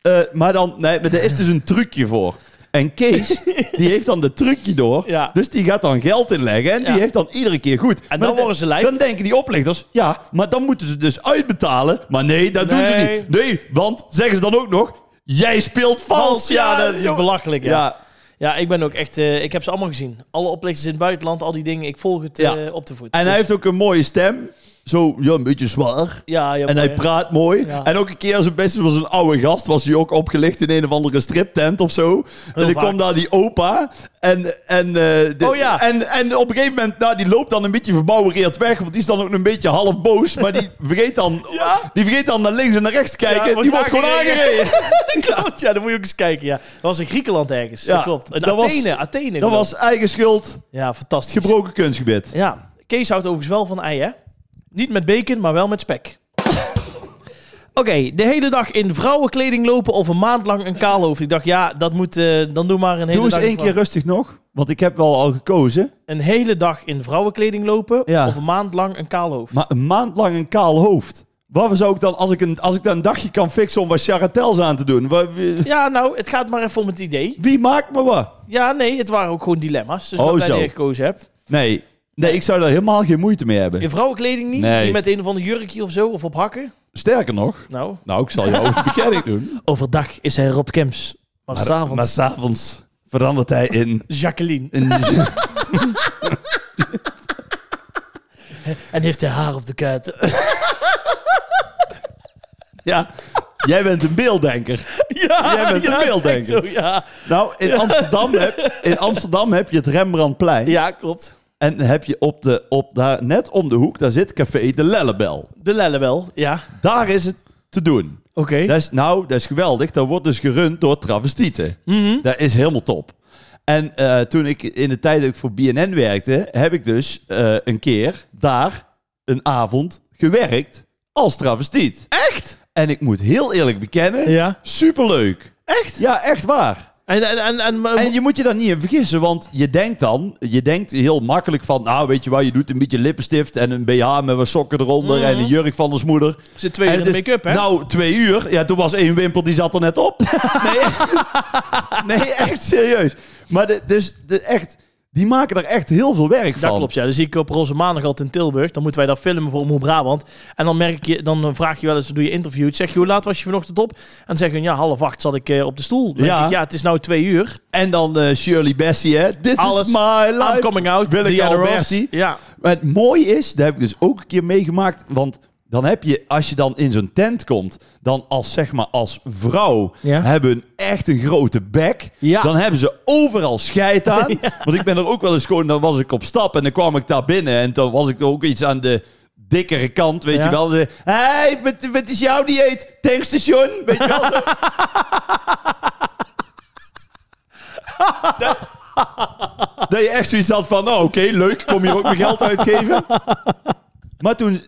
S3: eh, maar dan, nee, maar daar is dus een trucje voor. En Kees, die heeft dan dat trucje door.
S1: Ja.
S3: Dus die gaat dan geld inleggen. En
S1: Ja.
S3: die heeft dan iedere keer goed. En
S1: dan worden ze lijp.
S3: Dan denken die oplichters, ja, maar dan moeten ze dus uitbetalen. Maar nee, dat doen ze
S1: Nee.
S3: niet. Nee, want, zeggen ze dan ook nog, jij speelt vals.
S1: ja, dat is
S3: joh.
S1: belachelijk. Ja. ja.
S3: Ja,
S1: ik ben ook echt... eh, ik heb ze allemaal gezien. Alle oplichters in het buitenland, al die dingen. Ik volg het
S3: Ja.
S1: eh, op de voet.
S3: en hij
S1: Dus-
S3: heeft ook een mooie stem. Zo, ja, een beetje zwaar.
S1: Ja, ja,
S3: En hij
S1: mooi, hè?
S3: praat mooi.
S1: Ja.
S3: En ook een keer als het best was een oude gast, was hij ook opgelicht in een of andere striptent of zo. en dan
S1: vaak.
S3: kwam daar die opa. En, en, eh, de-
S1: Oh ja.
S3: en, en op een gegeven moment, nou, die loopt dan een beetje verbouwereerd weg. Want die is dan ook een beetje half boos. Maar
S1: (laughs)
S3: die vergeet dan,
S1: Ja.
S3: die vergeet dan naar links en naar rechts te kijken.
S1: Ja,
S3: die wordt gewoon aangereden.
S1: dat (laughs) klopt, ja. Dan moet je ook eens kijken, ja. Dat was in Griekenland ergens.
S3: Ja,
S1: dat klopt. In
S3: dat was-
S1: Athene. Athene.
S3: Dat
S1: geloof ik.
S3: was eigen schuld,
S1: Ja, fantastisch.
S3: gebroken kunstgebied.
S1: Ja. Kees houdt overigens wel van ei, hè? Niet met bacon, maar wel met spek. (laughs) Oké, de hele dag in vrouwenkleding lopen of een maand lang een kaalhoofd. Ik dacht, ja, dat moet... eh, dan doe maar een hele
S3: Doe eens
S1: dag in
S3: één keer
S1: vrouw-
S3: rustig nog. Want ik heb wel al gekozen.
S1: Een hele dag in vrouwenkleding lopen
S3: Ja.
S1: of een maand lang een kaalhoofd.
S3: Maar een maand lang een kaal hoofd. Waarvoor zou ik dan, als ik, een, als ik dan een dagje kan fixen om wat charatels aan te doen? Waar- wie-
S1: Ja, nou, het gaat maar even om het idee.
S3: Wie maakt me wat?
S1: Ja, nee, het waren ook gewoon dilemma's. Dus
S3: Oh,
S1: dat
S3: zo.
S1: jij gekozen hebt.
S3: Nee. Nee, ik zou daar helemaal geen moeite mee hebben.
S1: In vrouwenkleding niet?
S3: Nee.
S1: Niet met een of ander jurkje of zo, of op hakken?
S3: Sterker nog,
S1: Nou,
S3: nou, ik zal jou een bekenning doen.
S1: overdag is hij Rob Kemps. (laughs) Maar s'avonds
S3: Maar s'avonds verandert hij in...
S1: Jacqueline.
S3: in
S1: (laughs) En heeft hij haar op de (laughs) kuit.
S3: ja, jij bent een beelddenker.
S1: ja,
S3: Jij bent een beelddenker.
S1: zeg zo, ja.
S3: Nou, in Amsterdam heb, in Amsterdam heb je het Rembrandtplein.
S1: ja, klopt.
S3: En heb je op de, op daar, net om de hoek, daar zit café De Lellebel.
S1: De Lellebel, ja.
S3: Daar is het te doen.
S1: Oké.
S3: Dat is, nou, dat is geweldig. Dat wordt dus gerund door travestieten.
S1: Mhm.
S3: Dat is helemaal top. En eh, toen ik in de tijd dat ik voor BNN werkte, heb ik dus eh, een keer daar een avond gewerkt als travestiet.
S1: Echt?
S3: En ik moet heel eerlijk bekennen,
S1: Ja.
S3: superleuk.
S1: Echt?
S3: Ja, echt waar.
S1: En, en, en, en,
S3: En je moet je daar niet in vergissen, want je denkt dan, je denkt heel makkelijk van, nou weet je wat, je doet een beetje lippenstift en een BH met wat sokken eronder
S1: Mhm.
S3: en een jurk van de moeder.
S1: ze twee uur
S3: En
S1: in
S3: het is-
S1: make-up, hè?
S3: Nou, twee uur. Ja, toen was één wimpel, die zat er net
S1: (laughs)
S3: op. Nee, nee echt serieus. Maar de, dus de, echt, die maken er echt heel veel werk
S1: dat
S3: van.
S1: klopt, ja. Dan zie ik op Roze Maandag altijd in Tilburg. Dan moeten wij daar filmen voor Omroep Brabant. En dan, merk je, dan eh, vraag je wel eens, doe je interviews. Zeg je, hoe laat was je vanochtend op? En dan zeggen hun, ja, half acht zat ik eh, op de stoel. Dan
S3: Ja.
S1: denk ik, ja, het is nou twee uur.
S3: En dan eh, Shirley Bessie, hè. This
S1: Alles.
S3: is my life.
S1: I'm coming out.
S3: Wil ik
S1: Diana
S3: al
S1: Ross.
S3: Bessie.
S1: Ja.
S3: Maar het mooie is, dat heb ik dus ook een keer meegemaakt. Want dan heb je, als je dan in zo'n tent komt, dan als zeg maar als vrouw
S1: Ja.
S3: hebben hun echt een grote bek.
S1: Ja.
S3: Dan hebben ze overal
S1: (laughs)
S3: scheid aan. Want ik ben er ook wel eens gewoon, dan was ik op stap en dan kwam ik daar binnen en dan was ik ook iets aan de dikkere kant, weet
S1: Ja.
S3: je wel. Hé, hey, wat, wat is jouw dieet? Tankstation, weet je wel.
S1: (laughs)
S3: zo. Dat- Dat je echt zoiets had van, nou oké, leuk, kom hier ook mijn geld uitgeven. Maar toen,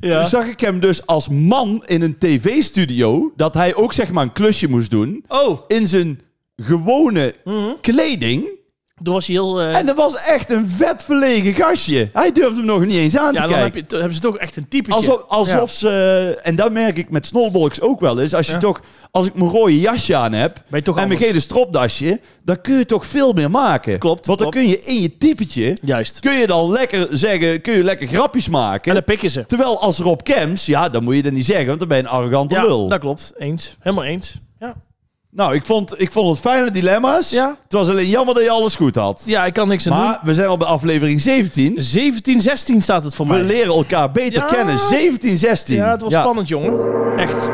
S1: Ja.
S3: toen zag ik hem dus als man in een tv-studio... dat hij ook zeg maar een klusje moest doen...
S1: Oh,
S3: in zijn gewone
S1: Mhm.
S3: kleding.
S1: toen was hij heel... eh,
S3: En dat was echt een vet verlegen gastje. Hij durfde hem nog niet eens aan
S1: ja,
S3: te
S1: dan
S3: kijken.
S1: heb je, dan hebben ze toch echt een typetje.
S3: Alsof, alsof ze... En dat merk ik met snowballs ook wel eens. Als, je
S1: Ja.
S3: toch, als ik mijn rode jasje aan heb...
S1: Ben je toch
S3: en mijn
S1: anders.
S3: gele stropdasje... dan kun je toch veel meer maken.
S1: Klopt,
S3: Want dan
S1: klopt.
S3: kun je in je typetje...
S1: Juist.
S3: kun je dan lekker zeggen... kun je lekker grapjes maken.
S1: En dan pikken ze.
S3: Terwijl als Rob Kems, ja, dan moet je dat niet zeggen, want dan ben je een arrogante
S1: Ja,
S3: lul.
S1: dat klopt. Eens. Helemaal eens. Ja.
S3: Nou, ik vond, ik vond het fijne dilemma's.
S1: Ja.
S3: Het was alleen jammer dat je alles goed had.
S1: ja, ik kan niks aan
S3: Maar we zijn al bij aflevering 17.
S1: doen. 17, 16 staat het voor
S3: We
S1: mij.
S3: leren elkaar beter
S1: Ja.
S3: kennen. 17, 16.
S1: Ja, het was spannend, jongen. Echt.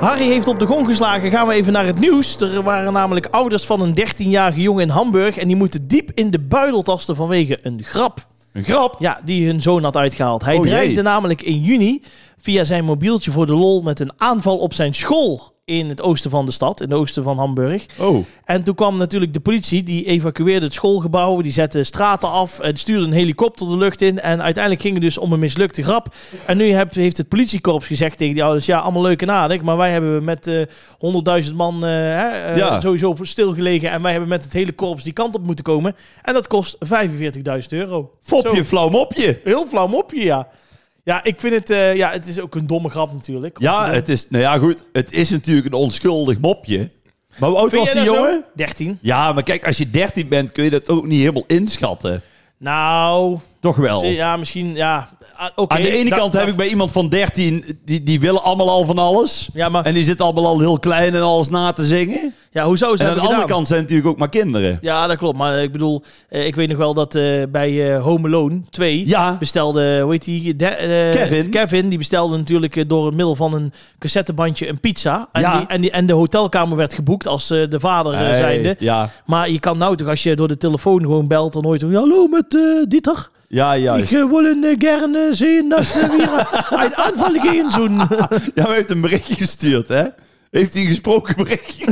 S1: Harry heeft op de gong geslagen. Gaan we even naar het nieuws. Er waren namelijk ouders van een 13-jarige jongen in Hamburg. En die moeten diep in de buidel tasten vanwege een grap.
S3: Een grap.
S1: Ja, die hun zoon had uitgehaald. Hij
S3: Oh, jee.
S1: dreigde namelijk in juni via zijn mobieltje voor de lol met een aanval op zijn school in het oosten van de stad, in het oosten van Hamburg.
S3: Oh.
S1: En toen kwam natuurlijk de politie, die evacueerde het schoolgebouw, die zette straten af en stuurde een helikopter de lucht in. En uiteindelijk ging het dus om een mislukte grap. En nu heb- heeft het politiekorps gezegd tegen die ouders, ja, allemaal leuk en aardig, maar wij hebben met eh, 100.000 man eh, hè, eh,
S3: Ja.
S1: sowieso stilgelegen en wij hebben met het hele korps die kant op moeten komen. En dat kost 45.000 euro.
S3: Fopje,
S1: Zo.
S3: flauw mopje.
S1: Heel flauw mopje, ja. Ja, ik vind het, eh, ja, het is ook een domme grap natuurlijk. Om te
S3: Ja,
S1: doen.
S3: het is, nou ja, goed. Het is natuurlijk een onschuldig mopje. Maar hoe oud
S1: Vind
S3: was
S1: jij
S3: die
S1: dat zo?
S3: jongen?
S1: 13.
S3: Ja, maar kijk, als je 13 bent, kun je dat ook niet helemaal inschatten.
S1: Nou,
S3: Toch wel.
S1: zie- ja, misschien, ja. ah, oké.
S3: Oh. Aan de ene
S1: Da-
S3: kant
S1: da-
S3: heb ik bij iemand van 13, die, die willen allemaal al van alles.
S1: Ja, maar
S3: En die zitten allemaal al heel klein en alles na te zingen.
S1: ja, hoe zou ze
S3: En aan
S1: hebben
S3: de andere
S1: gedaan?
S3: kant zijn het natuurlijk ook maar kinderen.
S1: Ja, dat klopt. Maar eh, ik bedoel, eh, ik weet nog wel dat eh, bij eh Home Alone 2
S3: Ja,
S1: bestelde, hoe heet die? De- eh,
S3: Kevin.
S1: Kevin, die bestelde natuurlijk eh, door het middel van een cassettebandje een pizza. En,
S3: Ja.
S1: die, en, die, en de hotelkamer werd geboekt als eh, de vader eh,
S3: Hey,
S1: zijnde.
S3: Ja,
S1: Maar je kan nou toch, als je door de telefoon gewoon belt, dan hoor je toch, hallo met eh, Dieter?
S3: ja, juist.
S1: Ik eh, wil een eh, gerne zien dat ze
S3: (laughs)
S1: weer een aanval gaan doen.
S3: Ja, maar heeft een berichtje gestuurd, hè? Heeft hij een gesproken berichtje?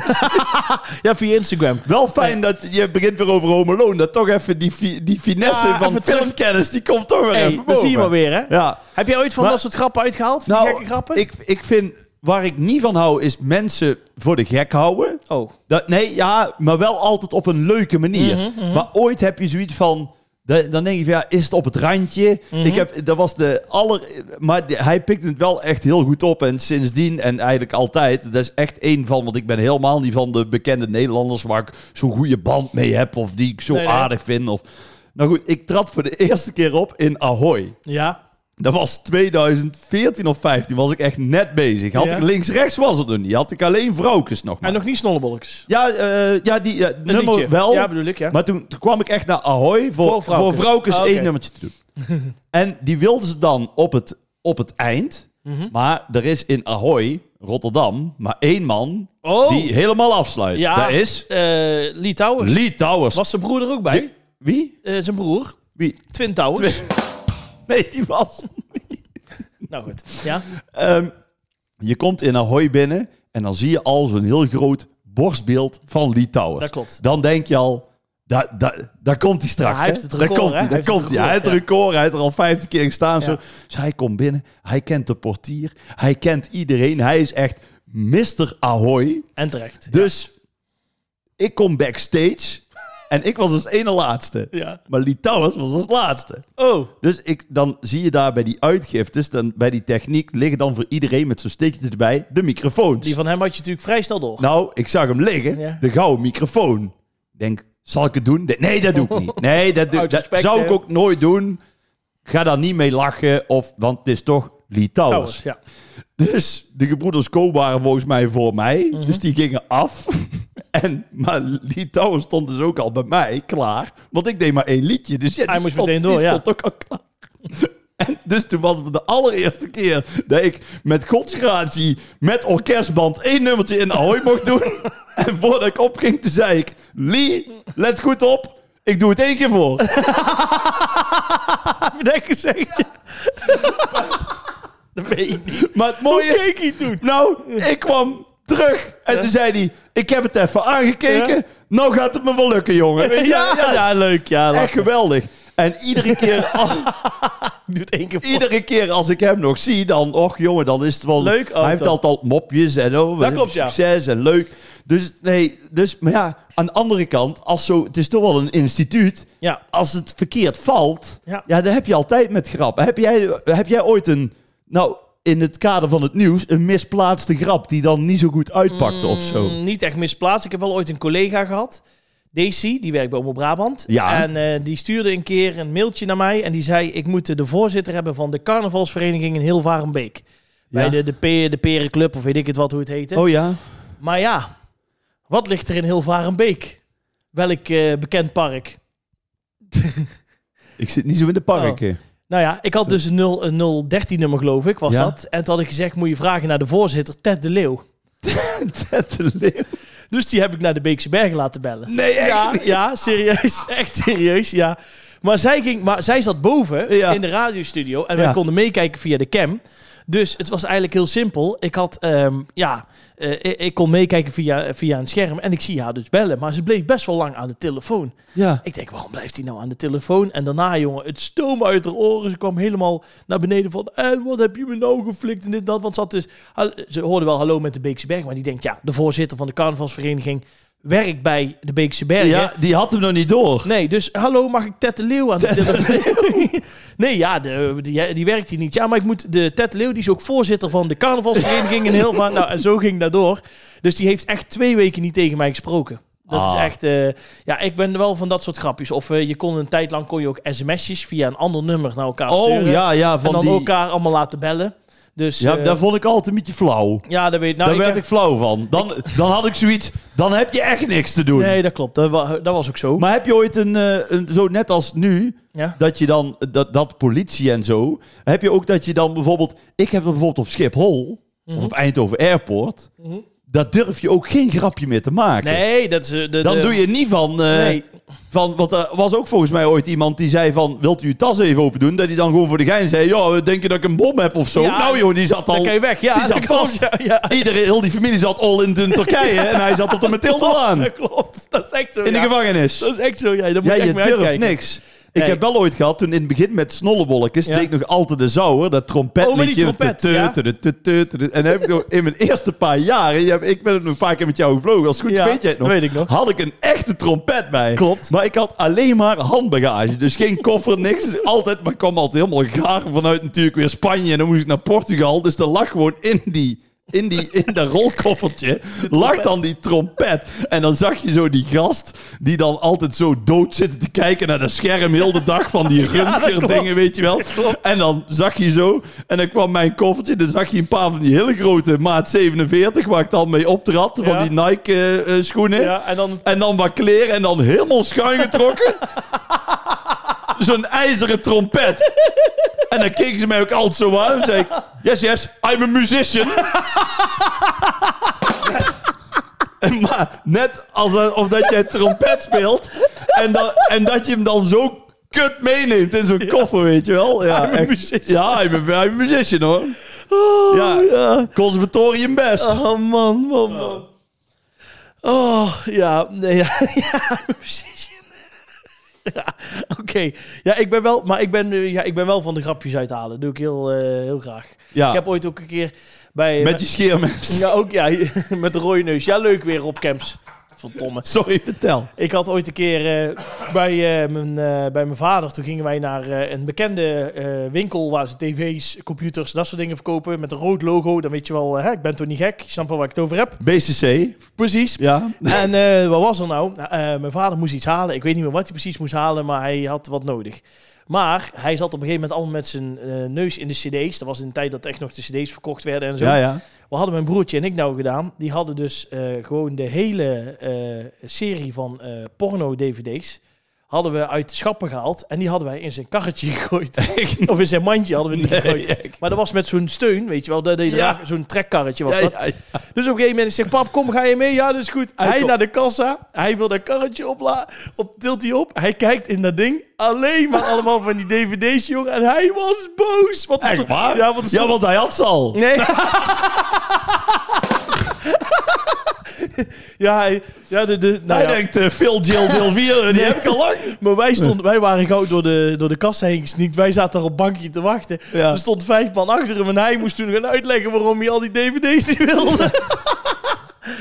S1: ja, via Instagram.
S3: Wel fijn dat je begint weer over Home Alone. Dat toch even die, fi- die finesse
S1: Ja,
S3: van
S1: even terug.
S3: filmkennis, die komt toch weer
S1: Hey,
S3: even
S1: dat
S3: boven.
S1: zie je maar weer, hè?
S3: Ja.
S1: Heb jij ooit van
S3: Maar- Nou,
S1: dat soort grappen uitgehaald? Van die gekke grappen?
S3: Ik, ik vind, waar ik niet van hou, is mensen voor de gek houden.
S1: Oh.
S3: Dat, nee, ja, maar wel altijd op een leuke manier.
S1: Mhm,
S3: Maar ooit heb je zoiets van... da- Dan denk je van, ja, is het op het randje?
S1: Mhm.
S3: Ik heb, dat was de aller... Maar de- hij pikt het wel echt heel goed op. En sindsdien, en eigenlijk altijd... Dat is echt één van... Want ik ben helemaal niet van de bekende Nederlanders... waar ik zo'n goede band mee heb. Of die ik zo
S1: Nee, nee.
S3: aardig vind. Of, nou goed, ik trad voor de (laughs) eerste keer op in Ahoy.
S1: Ja.
S3: Dat was 2014 of 15 was ik echt net bezig. Had
S1: Ja.
S3: ik links-rechts was het nog niet. Had ik alleen vrouwtjes nog maar.
S1: En nog niet snollebolks.
S3: Ja, eh, ja die eh,
S1: Een
S3: nummer
S1: liedje.
S3: wel.
S1: Ja, bedoel ik, ja.
S3: Maar toen, toen kwam ik echt naar Ahoy voor,
S1: Voor
S3: voor
S1: vrouwkes.
S3: vrouwkes,
S1: Ah, oké.
S3: één nummertje te doen. (laughs) en die wilden ze dan op het, op het eind.
S1: Mhm.
S3: Maar er is in Ahoy, Rotterdam, maar één man
S1: Oh.
S3: die helemaal afsluit.
S1: ja.
S3: Dat is
S1: eh, Lee Towers.
S3: Lee Towers.
S1: Was zijn broer er ook bij?
S3: Wie?
S1: Eh, zijn broer.
S3: Wie?
S1: Twin Towers.
S3: Twee. Nee, die was.
S1: (laughs) Nou goed. Ja.
S3: Ehm, je komt in Ahoy binnen en dan zie je al zo'n heel groot borstbeeld van Lee Towers.
S1: Dat klopt.
S3: Dan denk je al, da, da, daar komt hij straks.
S1: Ja, hij
S3: hè?
S1: heeft het
S3: Daar
S1: record,
S3: komt
S1: hè? Hij
S3: hij, daar
S1: heeft het
S3: komt hij. Hij heeft het
S1: record,
S3: record, hij heeft er al 50 keer gestaan. Zo.
S1: Ja.
S3: Dus hij komt binnen, hij kent de portier, hij kent iedereen. Hij is echt Mr. Ahoy.
S1: En terecht.
S3: Dus ik kom backstage en ik was als ene laatste.
S1: Ja.
S3: Maar Lee Towers was als laatste.
S1: Oh.
S3: Dus ik, dan zie je daar bij die uitgiftes, dan, bij die techniek, liggen dan voor iedereen met zo'n steekje erbij de microfoons.
S1: Die van hem had je natuurlijk vrij snel door.
S3: Nou, ik zag hem liggen,
S1: Ja.
S3: de gouden microfoon. Ik Denk, zal ik het doen? De- Nee, dat doe ik
S1: (laughs)
S3: niet. Nee, dat, doe,
S1: Uit
S3: dat
S1: respect,
S3: zou ik
S1: hè?
S3: ook nooit doen. Ga daar niet mee lachen, of, want het is toch Lee Towers.
S1: Towers, ja.
S3: Dus de gebroeders Ko waren volgens mij voor mij.
S1: Mhm.
S3: Dus die gingen af. (laughs) en, maar Lee Towers stond dus ook al bij mij klaar. Want ik deed maar één liedje. Dus ja, die
S1: Hij moest
S3: stond,
S1: meteen door,
S3: die
S1: ja.
S3: stond ook al klaar. (laughs) en dus toen was het de allereerste keer dat ik met godsgratie, met orkestband, één nummertje in Ahoy mocht doen. (laughs) en voordat ik opging, toen zei ik... Lee, let goed op. Ik doe het één keer voor.
S1: Heb je dat gezegd?
S3: (laughs)
S1: Ja. dat weet ik niet.
S3: Maar het mooie
S1: Hoe
S3: is...
S1: keek hij toen?
S3: Nou, ik kwam terug en toen zei hij: Ik heb het even aangekeken.
S1: Ja?
S3: Nou gaat het me wel lukken, jongen. Weet je,
S1: Ja, ja,
S3: ja,
S1: leuk. Ja,
S3: echt
S1: lachen.
S3: geweldig. En iedere keer, als,
S1: Doet één keer voor.
S3: iedere keer als ik hem nog zie, dan, och jongen, dan is het wel
S1: Leuk, oh,
S3: Hij heeft
S1: toch.
S3: altijd al mopjes en oh, we hebben
S1: klopt, ja.
S3: succes en leuk. Dus nee, dus, maar ja, aan de andere kant, als zo, het is toch wel een instituut.
S1: Ja.
S3: Als het verkeerd valt,
S1: Ja.
S3: ja, dan heb je altijd met grappen. Heb jij, heb jij ooit een, nou, in het kader van het nieuws, een misplaatste grap die dan niet zo goed uitpakte of zo?
S1: Mm, Niet echt misplaatst. Ik heb wel ooit een collega gehad. Daisy, die werkt bij Omroep Brabant.
S3: Ja.
S1: En eh, die stuurde een keer een mailtje naar mij. En die zei, ik moet de voorzitter hebben van de carnavalsvereniging in Hilvarenbeek. Bij
S3: Ja.
S1: de, de, Pe- de Perenclub, of weet ik het wat, hoe het heette.
S3: Oh ja.
S1: Maar ja, wat ligt er in Hilvarenbeek? Welk eh, bekend park?
S3: Ik zit niet zo in de parken.
S1: Nou ja, ik had dus een 0 een 013-nummer, geloof ik, was
S3: Ja.
S1: dat. En toen had ik gezegd, moet je vragen naar de voorzitter, Ted de Leeuw.
S3: Ted de Leeuw.
S1: Dus die heb ik naar de Beekse Bergen laten bellen.
S3: Nee, echt
S1: Ja, (laughs)
S3: niet.
S1: ja, serieus. Echt serieus, ja. Maar zij, ging, maar zij zat boven
S3: Ja.
S1: in de radiostudio en
S3: Ja.
S1: wij konden meekijken via de cam. Dus het was eigenlijk heel simpel. Ik, had, ehm, ja, eh, ik, ik kon meekijken via, via een scherm en ik zie haar dus bellen. Maar ze bleef best wel lang aan de telefoon.
S3: Ja.
S1: Ik denk, waarom blijft hij nou aan de telefoon? En daarna, jongen, het stoom uit haar oren. Ze kwam helemaal naar beneden van... En wat heb je me nou geflikt en dit en dat? Want ze, had dus, ha- ze hoorde wel hallo met de Beekse Berg. Maar die denkt, ja, de voorzitter van de carnavalsvereniging... werkt bij de Beekse Bergen.
S3: ja, die had hem nog niet door.
S1: Nee, dus hallo, mag ik Ted de Leeuw aan de telefoon? nee, ja, de, die, die werkt hier niet. Ja, maar ik moet de Ted de Leeuw, die is ook voorzitter van de carnavalsvereniging in Hilva. Nou, en zo ging dat door. Dus die heeft echt twee weken niet tegen mij gesproken. Dat is
S3: Ah.
S1: echt, eh, ja, ik ben wel van dat soort grapjes. Of eh, je kon een tijd lang kon je ook sms'jes via een ander nummer naar elkaar
S3: Oh
S1: sturen.
S3: ja, ja.
S1: en
S3: Van
S1: dan
S3: die,
S1: elkaar allemaal laten bellen. Dus
S3: ja,
S1: eh,
S3: daar vond ik altijd een beetje flauw.
S1: ja, dat weet nou,
S3: daar
S1: ik.
S3: werd ik flauw van. Dan, dan had ik zoiets. Dan heb je echt niks te doen.
S1: Nee, dat klopt. Dat, wa- dat was ook zo.
S3: Maar heb je ooit een, eh, een. Zo net als nu.
S1: ja.
S3: dat je dan, dat, dat politie en zo, heb je ook dat je dan bijvoorbeeld, ik heb dat bijvoorbeeld op Schiphol, of op Eindhoven Airport,
S1: Mhm.
S3: daar durf je ook geen grapje meer te maken.
S1: Nee, dat is... eh, de-
S3: Dan
S1: de-
S3: doe je niet van, eh,
S1: Nee.
S3: van, want er was ook volgens mij ooit iemand die zei van, wilt u uw tas even open doen? Dat hij dan gewoon voor de gein zei, ja, denk je dat ik een bom heb of zo?
S1: Ja,
S3: nou joh, die zat
S1: Dan
S3: al,
S1: kan je weg. Ja,
S3: die
S1: (laughs) dat
S3: zat
S1: klopt.
S3: vast.
S1: Ja, ja.
S3: Iedereen, heel die familie zat al in in Turkije en hij
S1: (laughs)
S3: zat op de Mathilde-laan
S1: Dat klopt. Dat is echt zo.
S3: in de
S1: ja.
S3: gevangenis.
S1: Dat is echt zo. Ja, dat moet
S3: Ja,
S1: je
S3: je
S1: echt mee
S3: durft
S1: uitkijken.
S3: niks. Ik
S1: Nee.
S3: heb wel ooit gehad, toen in het begin met snollebolletjes,
S1: Ja.
S3: deed ik nog altijd de zouwer, dat
S1: Oh, met die
S3: trompetliedje.
S1: trompet,
S3: Tutu,
S1: ja.
S3: tudu, tutu, tudu. En heb ik nog in mijn eerste paar jaren, je hebt- ik ben nog een paar keer met jou gevlogen, als het goed is
S1: Ja,
S3: weet jij het nog,
S1: weet ik nog.
S3: had ik een echte trompet bij.
S1: Klopt.
S3: Maar ik had alleen maar handbagage, dus geen koffer, niks. Altijd, maar ik kwam altijd helemaal gaar vanuit natuurlijk weer Spanje en dan moest ik naar Portugal, dus er lag gewoon in die... In, die, in
S1: (laughs)
S3: dat rolkoffertje lag dan die trompet. En dan zag je zo die gast die dan altijd zo dood zit te kijken naar dat scherm heel de dag van
S1: (laughs)
S3: die röntgen dingen, weet je wel. En dan zag je zo, en dan kwam mijn koffertje, dan zag je een paar van die hele grote maat 47, waar ik dan mee optrad, van
S1: Ja.
S3: die Nike eh, eh, schoenen.
S1: Ja, en dan...
S3: En dan wat kleren en dan helemaal schuin
S1: (laughs)
S3: getrokken. Zo'n ijzeren trompet. En dan keken ze mij ook altijd zo aan. En zei ik, yes, yes, I'm a musician.
S1: (laughs)
S3: En maar net alsof dat jij trompet speelt. En, dan, en dat je hem dan zo kut meeneemt in zo'n koffer, weet je wel. Ja,
S1: I'm a
S3: echt.
S1: musician.
S3: Ja, I'm a, I'm a musician hoor.
S1: Oh,
S3: Ja.
S1: ja.
S3: Conservatorium best.
S1: Oh, man, man, man. Oh, ja. Nee, (laughs) ja. ja, precies. Ja, oké. Ja, ik ben wel... Maar ik ben, eh, ja, ik ben wel van de grapjes uithalen. Dat doe ik heel, eh, heel graag.
S3: Ja.
S1: Ik heb ooit ook een keer bij...
S3: Met je scheermes.
S1: Ja, ook, ja. (laughs) Met de rode neus. Ja, leuk weer, Rob Kemps. Verdomme.
S3: Sorry, vertel.
S1: Ik had ooit een keer eh, bij, eh, mijn, eh, bij mijn vader, toen gingen wij naar eh, een bekende eh, winkel waar ze tv's, computers, dat soort dingen verkopen. Met een rood logo, dan weet je wel, eh, hè, ik ben toch niet gek, je snapt wel waar ik het over heb.
S3: BCC,
S1: Precies.
S3: ja.
S1: En eh, wat was er nou? Eh, mijn vader moest iets halen, ik weet niet meer wat hij precies moest halen, maar hij had wat nodig. Maar hij zat op een gegeven moment allemaal met zijn eh, neus in de cd's. Dat was in de tijd dat echt nog de cd's verkocht werden en zo.
S3: Ja, ja.
S1: Wat hadden mijn broertje en ik nou gedaan? Die hadden dus eh, gewoon de hele eh, serie van eh, porno-dvd's hadden we uit de schappen gehaald en die hadden wij in zijn karretje (laughs) gegooid. of in zijn mandje hadden we die
S3: Nee,
S1: gegooid. Maar dat was met zo'n steun, weet je wel. dat deed je
S3: Ja.
S1: draag- Zo'n trekkarretje was
S3: Ja,
S1: dat.
S3: ja, ja.
S1: Dus op een gegeven moment ik zeg pap, kom, ga je mee? Ja, dat is goed. Hij,
S3: Hij komt.
S1: naar de kassa. Hij wil dat karretje opla op, tilt hij op. Hij kijkt in dat ding. Alleen maar allemaal van die dvd's, jongen. En hij was boos. Wat
S3: Echt waar?
S1: Ja, want er stond-
S3: hij had ze al.
S1: Nee. ja, hij- ja, de, de, nou
S3: hij
S1: ja.
S3: denkt, eh, Phil, Jill, (laughs) Dil 4, die heb ik al lang.
S1: Maar wij, stonden, wij waren gauw door de, door de kassa heen gesneakt. Wij zaten daar op bankje te wachten.
S3: Ja.
S1: Er stond vijf man achter hem en hij moest toen gaan uitleggen waarom hij al die dvd's niet wilde. (laughs)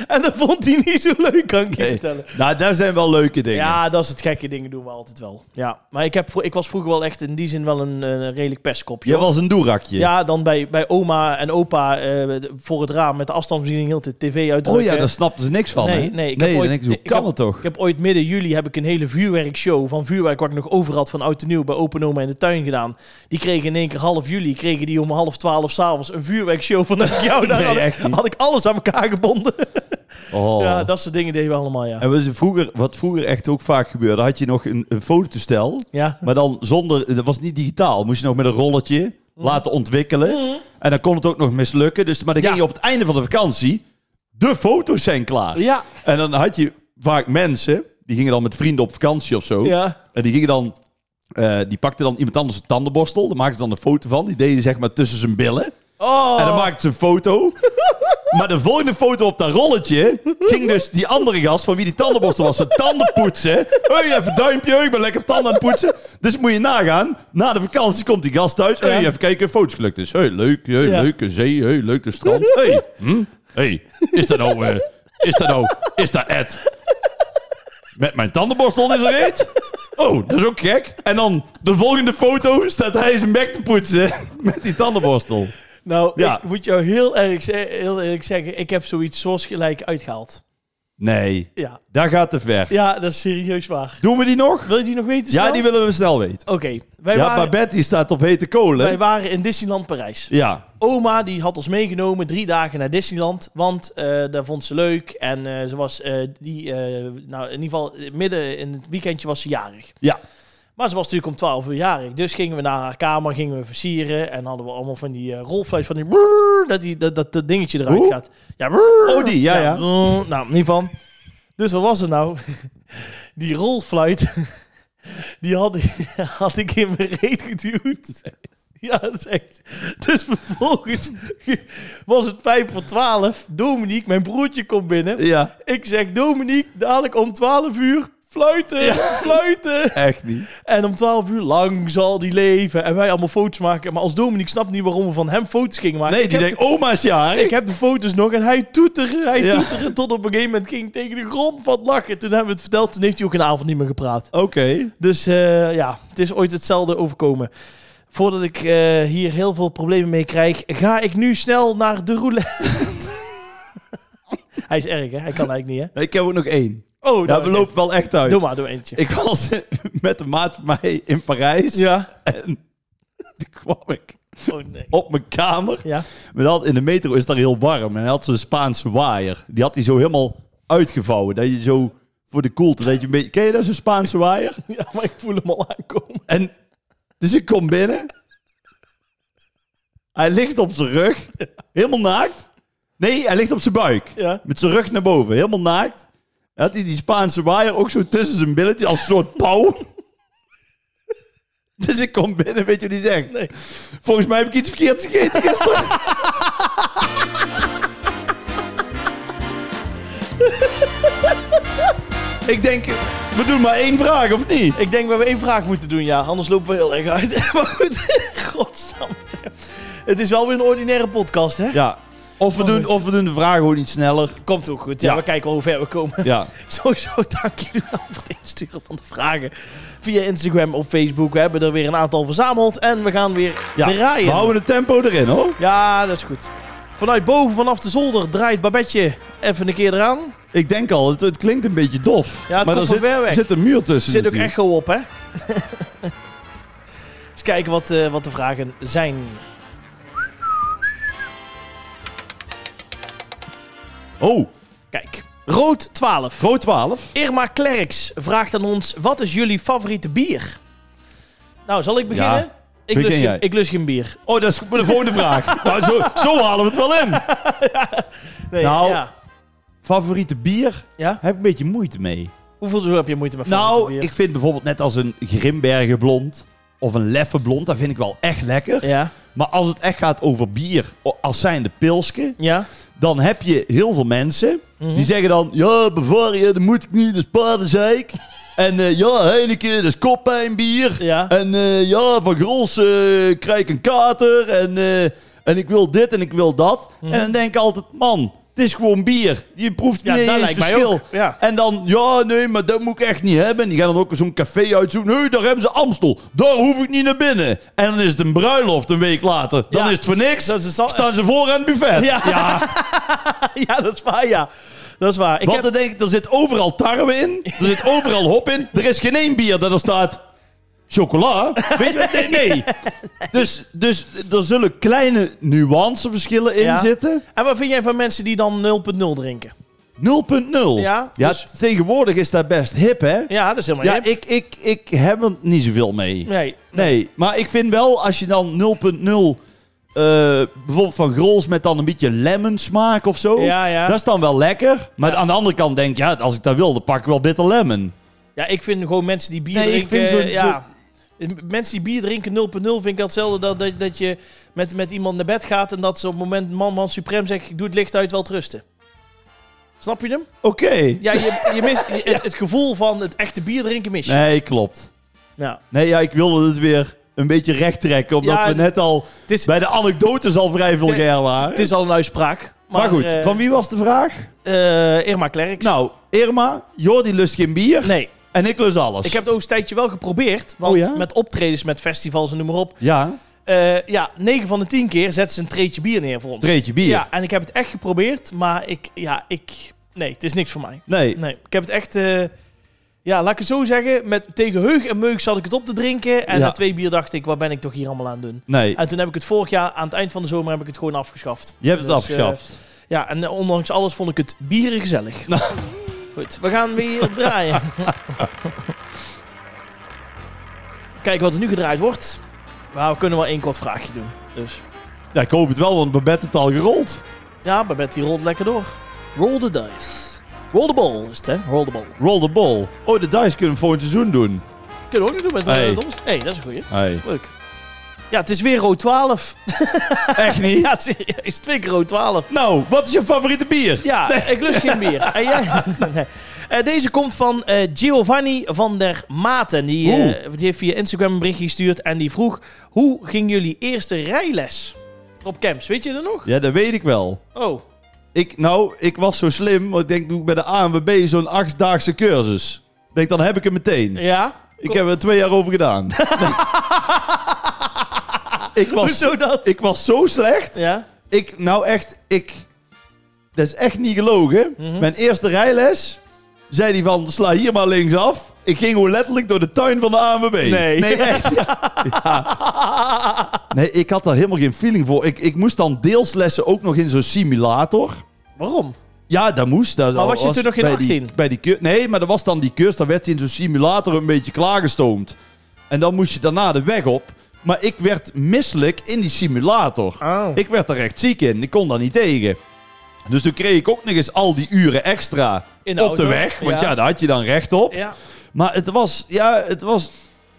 S1: en dat vond hij niet zo leuk, kan ik je vertellen.
S3: Nou, daar zijn wel leuke dingen.
S1: Ja, dat is het gekke dingen doen we altijd wel. Ja, maar ik, heb, vro- ik was vroeger wel echt in die zin wel een, eh, redelijk pestkopje.
S3: Jij
S1: hoor.
S3: was een doerakje.
S1: Ja, dan bij, bij oma en opa eh, voor het raam met de afstandsbediening heel de tv
S3: Oh
S1: uitdrukken.
S3: ja, daar snapten ze niks van,
S1: Nee,
S3: hè?
S1: nee, ik heb
S3: dan
S1: ooit-
S3: denk ik, hoe
S1: ik
S3: kan
S1: heb-
S3: het toch?
S1: Ik heb ooit midden juli heb ik een hele vuurwerkshow van vuurwerk wat ik nog over had van oud en nieuw bij Open Oma in de tuin gedaan. Die kregen in één keer half juli, kregen die om half twaalf s'avonds een vuurwerkshow van
S3: (laughs)
S1: dat ik jou daar
S3: Nee,
S1: had, ik-
S3: echt niet.
S1: had ik alles aan elkaar gebonden.
S3: Oh.
S1: Ja, dat soort dingen deden we allemaal, ja.
S3: En wat ze vroeger, wat vroeger echt ook vaak gebeurde, had je nog een, een fototoestel,
S1: Ja,
S3: maar dan zonder, dat was niet digitaal, moest je nog met een rolletje
S1: Mhm.
S3: laten ontwikkelen. En dan kon het ook nog mislukken, dus, maar dan
S1: Ja.
S3: ging je op het einde van de vakantie, de foto's zijn klaar.
S1: ja,
S3: En dan had je vaak mensen, die gingen dan met vrienden op vakantie of zo.
S1: ja.
S3: En die gingen dan eh, die pakte dan iemand anders een tandenborstel. Daar maakte ze dan een foto van. Die deed hij zeg maar tussen zijn billen.
S1: Oh.
S3: En dan maakte ze een
S1: (laughs)
S3: foto. Maar de volgende foto op dat rolletje ging dus die andere gast van wie die tandenborstel was, zijn tanden poetsen. Hé, even duimpje, ik ben lekker tanden aan het poetsen. Dus moet je nagaan, na de vakantie komt die gast thuis. Hé,
S1: Ja.
S3: even kijken, foto's gelukt is. Hé, leuk, hé,
S1: Ja.
S3: leuke zee, hé, leuke strand. Hé, hm? Hé, is dat nou, eh, is dat nou, is dat Ed? Met mijn tandenborstel in zijn reet? Oh, dat is ook gek. En dan de volgende foto staat hij zijn bek te poetsen (laughs) met die tandenborstel.
S1: Nou,
S3: Ja.
S1: ik moet jou heel erg, ze- heel eerlijk zeggen, ik heb zoiets soortgelijk uitgehaald.
S3: Nee,
S1: Ja.
S3: daar gaat te ver.
S1: ja, dat is serieus waar.
S3: Doen we die nog?
S1: Wil je die nog weten?
S3: Ja,
S1: snel?
S3: die willen we snel weten.
S1: Oké, wij,
S3: ja,
S1: waren-
S3: Babette die staat op hete kolen.
S1: wij waren in Disneyland Parijs.
S3: Ja,
S1: Oma die had ons meegenomen drie dagen naar Disneyland, want eh daar vond ze leuk. En eh, ze was eh, die, eh, nou in ieder geval eh, midden in het weekendje was ze jarig.
S3: ja.
S1: Maar ze was natuurlijk om 12 uur jarig. Dus gingen we naar haar kamer, gingen we versieren. En hadden we allemaal van die eh, rolfluit, van die... brrr, dat, die dat, dat, dat dingetje eruit
S3: Hoe?
S1: gaat. Ja, brrr.
S3: Oh, die, ja, ja.
S1: brrr. nou, in ieder geval. Dus wat was het nou? (laughs) Die rolfluit, (laughs) die had, ik- (laughs) had ik in mijn reet geduwd. (laughs) Ja, dat is echt. Dus vervolgens (laughs) was het 5 voor 12. Dominique, mijn broertje, komt binnen.
S3: ja.
S1: Ik zeg, Dominique, dadelijk om 12 uur fluiten, (laughs) fluiten.
S3: Echt niet.
S1: En om 12 uur lang zal die leven. En wij allemaal foto's maken. Maar als Dominique snapt niet waarom we van hem foto's gingen maken.
S3: Nee,
S1: ik,
S3: die
S1: heb
S3: denkt, "Oh, oma's jaar.
S1: de, ik heb de foto's nog. En hij toeteren, hij
S3: Ja.
S1: toeteren. Tot op een gegeven moment ging ik tegen de grond van lachen. Toen hebben we het verteld. Toen heeft hij ook een avond niet meer gepraat.
S3: Oké.
S1: Dus eh, ja, het is ooit hetzelfde overkomen. Voordat ik eh, hier heel veel problemen mee krijg, ga ik nu snel naar de roulette. (laughs) hij is erg, hè? Hij kan eigenlijk niet, hè?
S3: Ik heb ook nog één.
S1: Oh, nou,
S3: Ja, we
S1: oké.
S3: lopen wel echt uit.
S1: Doe maar, doe eentje.
S3: Ik was (laughs) met een maat van mij in Parijs.
S1: Ja.
S3: En toen kwam ik
S1: Oh, nee.
S3: op mijn kamer.
S1: Ja.
S3: Maar dan, in de metro is daar heel warm. En hij had zo'n Spaanse waaier. Die had hij zo helemaal uitgevouwen. Dat je zo voor de koelte, dat je een beetje... Ken je dat, zo'n Spaanse waaier?
S1: ja, maar ik voel hem al aankomen.
S3: En dus ik kom binnen. Hij ligt op zijn rug. Helemaal naakt. Nee, hij ligt op zijn buik.
S1: Ja.
S3: Met zijn rug naar boven. Helemaal naakt. Hij had hij die Spaanse waaier ook zo tussen zijn billetjes als een soort pauw. (laughs) Dus ik kom binnen, weet je wat hij zegt?
S1: Nee.
S3: Volgens mij heb ik iets verkeerds gegeten gisteren. (laughs) ik denk, we doen maar één vraag, of niet?
S1: Ik denk dat we één vraag moeten doen, ja. Anders lopen we heel erg uit. (laughs) maar goed, godsam. Het is wel weer een ordinaire podcast, hè?
S3: Ja. Of we,
S1: Oh,
S3: doen,
S1: goed.
S3: of we doen de vraag gewoon iets sneller.
S1: Komt ook goed. Ja,
S3: Ja.
S1: we kijken wel hoe ver we komen. (laughs)
S3: Ja.
S1: Sowieso dank jullie wel voor het insturen van de vragen. Via Instagram of Facebook. We hebben er weer een aantal verzameld. En we gaan weer
S3: ja.
S1: draaien.
S3: We houden het tempo erin hoor.
S1: Ja, dat is goed. Vanuit boven, vanaf de zolder, draait Babetje even een keer eraan.
S3: Ik denk al, het, het klinkt een beetje dof.
S1: Ja, het
S3: maar
S1: komt
S3: er
S1: van
S3: zit,
S1: ver weg.
S3: zit een muur tussen.
S1: Er zit ook
S3: natuurlijk.
S1: echo op, hè? (laughs) Eens kijken wat, eh, wat de vragen zijn.
S3: Oh,
S1: Kijk. Rood 12.
S3: Pro 12.
S1: Irma Klerks vraagt aan ons: wat is jullie favoriete bier? Nou, zal ik beginnen?
S3: Ja.
S1: Ik,
S3: Begin
S1: lust
S3: jij.
S1: geen, ik lust geen bier.
S3: Oh, dat is de volgende (laughs) vraag. Nou, zo, zo halen we het wel in.
S1: Nee,
S3: Nou.
S1: ja.
S3: Favoriete bier?
S1: Ja?
S3: Heb ik een beetje moeite mee.
S1: Hoeveel zo heb je moeite met favoriete
S3: Nou,
S1: bier?
S3: ik vind bijvoorbeeld net als een Grimbergen blond of een Leffe blond, dat vind ik wel echt lekker.
S1: Ja,
S3: Maar als het echt gaat over bier, o- als zijn de pilsken,
S1: ja.
S3: dan heb je heel veel mensen
S1: Mhm.
S3: die zeggen dan: Ja, Bavaria, dat moet ik niet, dat is
S1: (laughs)
S3: paardenzeik. en eh, ja, Heineken, dat is koppijnbier.
S1: Ja.
S3: En eh, ja, van Grols eh, krijg ik een kater. En, eh, en ik wil dit en ik wil dat. En dan denk ik altijd: Man, het is gewoon bier. Je proeft
S1: Mhm. Ja,
S3: niet
S1: dat
S3: eens
S1: lijkt mij
S3: verschil.
S1: ook. Ja.
S3: En dan, ja, nee, maar dat moet ik echt niet hebben. En die gaan dan ook zo'n café uitzoeken. Nee, daar hebben ze Amstel. Daar hoef ik niet naar binnen. En dan is het een bruiloft een week later. Dan
S1: Ja.
S3: is het voor niks.
S1: Dat is al-
S3: Staan ze voor aan het
S1: (laughs)
S3: buffet.
S1: Ja. (laughs) ja, dat is waar, ja. Dat is waar. Ik
S3: Want
S1: heb-
S3: dan denk ik, er zit overal tarwe in. Er zit overal hop in. Er is geen één bier dat er staat. Chocola? Weet je wat? Nee, nee. Dus, dus er zullen kleine nuanceverschillen in
S1: Ja.
S3: zitten. 0.0.
S1: En wat vind jij van mensen die dan 0.0 drinken? Ja,
S3: Ja,
S1: dus-
S3: t- tegenwoordig is dat best hip, hè?
S1: Ja, dat is helemaal
S3: Ja,
S1: hip.
S3: ik, ik, ik heb er niet zoveel mee.
S1: Nee.
S3: Nee, maar ik vind wel als je dan 0.0, eh, bijvoorbeeld van Grols met dan een beetje lemon smaak of zo.
S1: Ja, ja.
S3: Dat is dan wel lekker. Maar aan de andere kant denk ik, ja, als ik dat wil, dan pak ik wel bitter lemon.
S1: Ja, ik vind gewoon mensen die bier
S3: Nee, ik
S1: drinken...
S3: vind zo'n-
S1: ja. Mensen die bier drinken 0.0 vind ik altijd hetzelfde dat, dat, dat je met, met iemand naar bed gaat en dat ze op het moment man, man, suprem zegt, ik doe het licht uit, wel rusten. Snap je hem?
S3: Oké.
S1: Ja, je, je mist je- het, het gevoel van het echte bier drinken mis je.
S3: Nee, klopt.
S1: Ja.
S3: Nee, ja, ik wilde het weer een beetje recht trekken, omdat
S1: Ja,
S3: we net al
S1: Het, is,
S3: bij de anekdotes al vrij vulgair waren.
S1: het is al een uitspraak. Maar,
S3: maar, goed,
S1: eh,
S3: van wie was de vraag?
S1: eh, Irma Klerks.
S3: Nou, Irma, Jordi lust geen bier
S1: Nee,
S3: en ik lust alles.
S1: ik heb het ook een tijdje wel geprobeerd. Want
S3: Oh ja?
S1: met optredens, met festivals en noem maar op.
S3: Ja,
S1: Eh, ja, 9 van de 10 keer zet ze een treetje bier neer voor ons.
S3: treetje bier.
S1: Ja, en ik heb het echt geprobeerd, maar ik, ja, ik, nee, het is niks voor mij.
S3: Nee,
S1: Nee, ik heb het echt, eh, ja, laat ik het zo zeggen, met, tegen heug en meug zat ik het op te drinken. En
S3: Ja.
S1: na twee bier dacht ik, wat ben ik toch hier allemaal aan het doen?
S3: nee,
S1: En toen heb ik het vorig jaar, aan het eind van de zomer, heb ik het gewoon afgeschaft.
S3: je hebt het
S1: Dus,
S3: afgeschaft.
S1: eh, ja, en eh, ondanks alles vond ik het bieren gezellig. Goed, we gaan weer draaien. Kijk wat er nu gedraaid wordt. Maar we kunnen wel één kort vraagje doen. Dus
S3: Ja, ik hoop het wel, want Babette het al gerold.
S1: ja, Babette die rolt lekker door. Roll the dice. Roll the ball is het, hè? Roll the ball.
S3: Roll the ball. Oh, de dice kunnen we volgend seizoen doen.
S1: Kunnen we ook nog doen met de
S3: Hey. Ah.
S1: hey. hey, dat is een goeie. (laughs)
S3: Hey.
S1: Leuk. Ja, het is weer rood 12.
S3: Echt niet?
S1: (laughs) ja, serieus. Twee keer rood 12.
S3: Nou, wat is je favoriete bier?
S1: Ja, ik lust geen (laughs) bier. En jij? Nee. (laughs) Eh, deze komt van eh, Giovanni van der Maten. Die, eh, die heeft via Instagram een berichtje gestuurd en die vroeg... Hoe ging jullie eerste rijles op camps? Weet je dat nog?
S3: Ja, dat weet ik wel.
S1: Oh,
S3: Ik, nou, ik was zo slim, want ik denk, doe ik bij de ANWB zo'n achtdaagse cursus. Ik denk, dan heb ik hem meteen.
S1: ja?
S3: Ik heb er twee jaar over
S1: (laughs)
S3: gedaan. ik, was,
S1: Hoezo dat?
S3: ik was zo slecht.
S1: Ja?
S3: Ik, nou echt, ik... Dat is echt niet gelogen.
S1: Mhm.
S3: Mijn eerste rijles zei hij van, sla hier maar linksaf. Ik ging gewoon letterlijk door de tuin van de ANWB.
S1: Nee.
S3: Nee,
S1: (laughs)
S3: echt. Ja. Ja. Nee, ik had daar helemaal geen feeling voor. Ik, ik moest dan deels lessen ook nog in zo'n simulator.
S1: Waarom?
S3: Ja, dat moest. Dat
S1: Maar was je toen nog geen
S3: bij
S1: 18?
S3: Die, bij die keur- nee, maar dat was dan die cursus. Dan werd hij in zo'n simulator een beetje klaargestoomd. En dan moest je daarna de weg op. Maar ik werd misselijk in die simulator.
S1: Oh.
S3: Ik werd er echt ziek in. Ik kon daar niet tegen. Dus toen kreeg ik ook nog eens al die uren extra
S1: In de
S3: op
S1: auto,
S3: de weg. Want
S1: ja.
S3: ja. daar had je dan recht op.
S1: Ja.
S3: Maar het was, ja, het was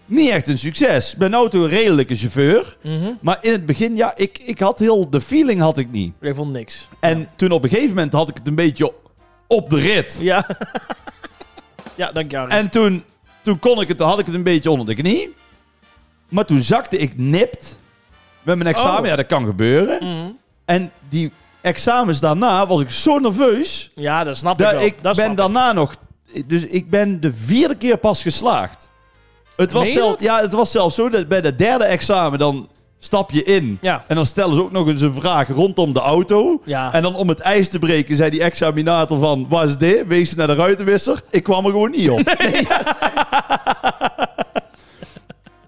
S3: niet echt een succes. Ik ben nou toch een redelijke chauffeur.
S1: Mhm.
S3: Maar in het begin, ja, ik, ik had heel... De feeling had ik niet.
S1: Ik vond niks.
S3: En toen op een gegeven moment had ik het een beetje op de rit.
S1: Ja. ja, (laughs) dank je, Harry.
S3: En toen, toen kon ik het, toen had ik het een beetje onder de knie. Maar toen zakte ik nipt met mijn examen.
S1: Oh.
S3: Ja, dat kan gebeuren.
S1: Mhm.
S3: En die examens daarna was ik zo nerveus.
S1: Ja, dat snap ik
S3: Dat
S1: wel.
S3: ik
S1: dat
S3: ben
S1: snap ik.
S3: daarna nog... Dus ik ben de vierde keer pas geslaagd. Het was,
S1: Meen je
S3: zelf,
S1: dat?
S3: ja, het was zelfs zo dat bij de derde examen dan stap je in.
S1: Ja.
S3: En dan stellen ze ook nog eens een vraag rondom de auto.
S1: Ja.
S3: En dan om het ijs te breken zei die examinator van... Waar is dit? Wees je naar de ruitenwisser. Ik kwam er gewoon niet op.
S1: (laughs)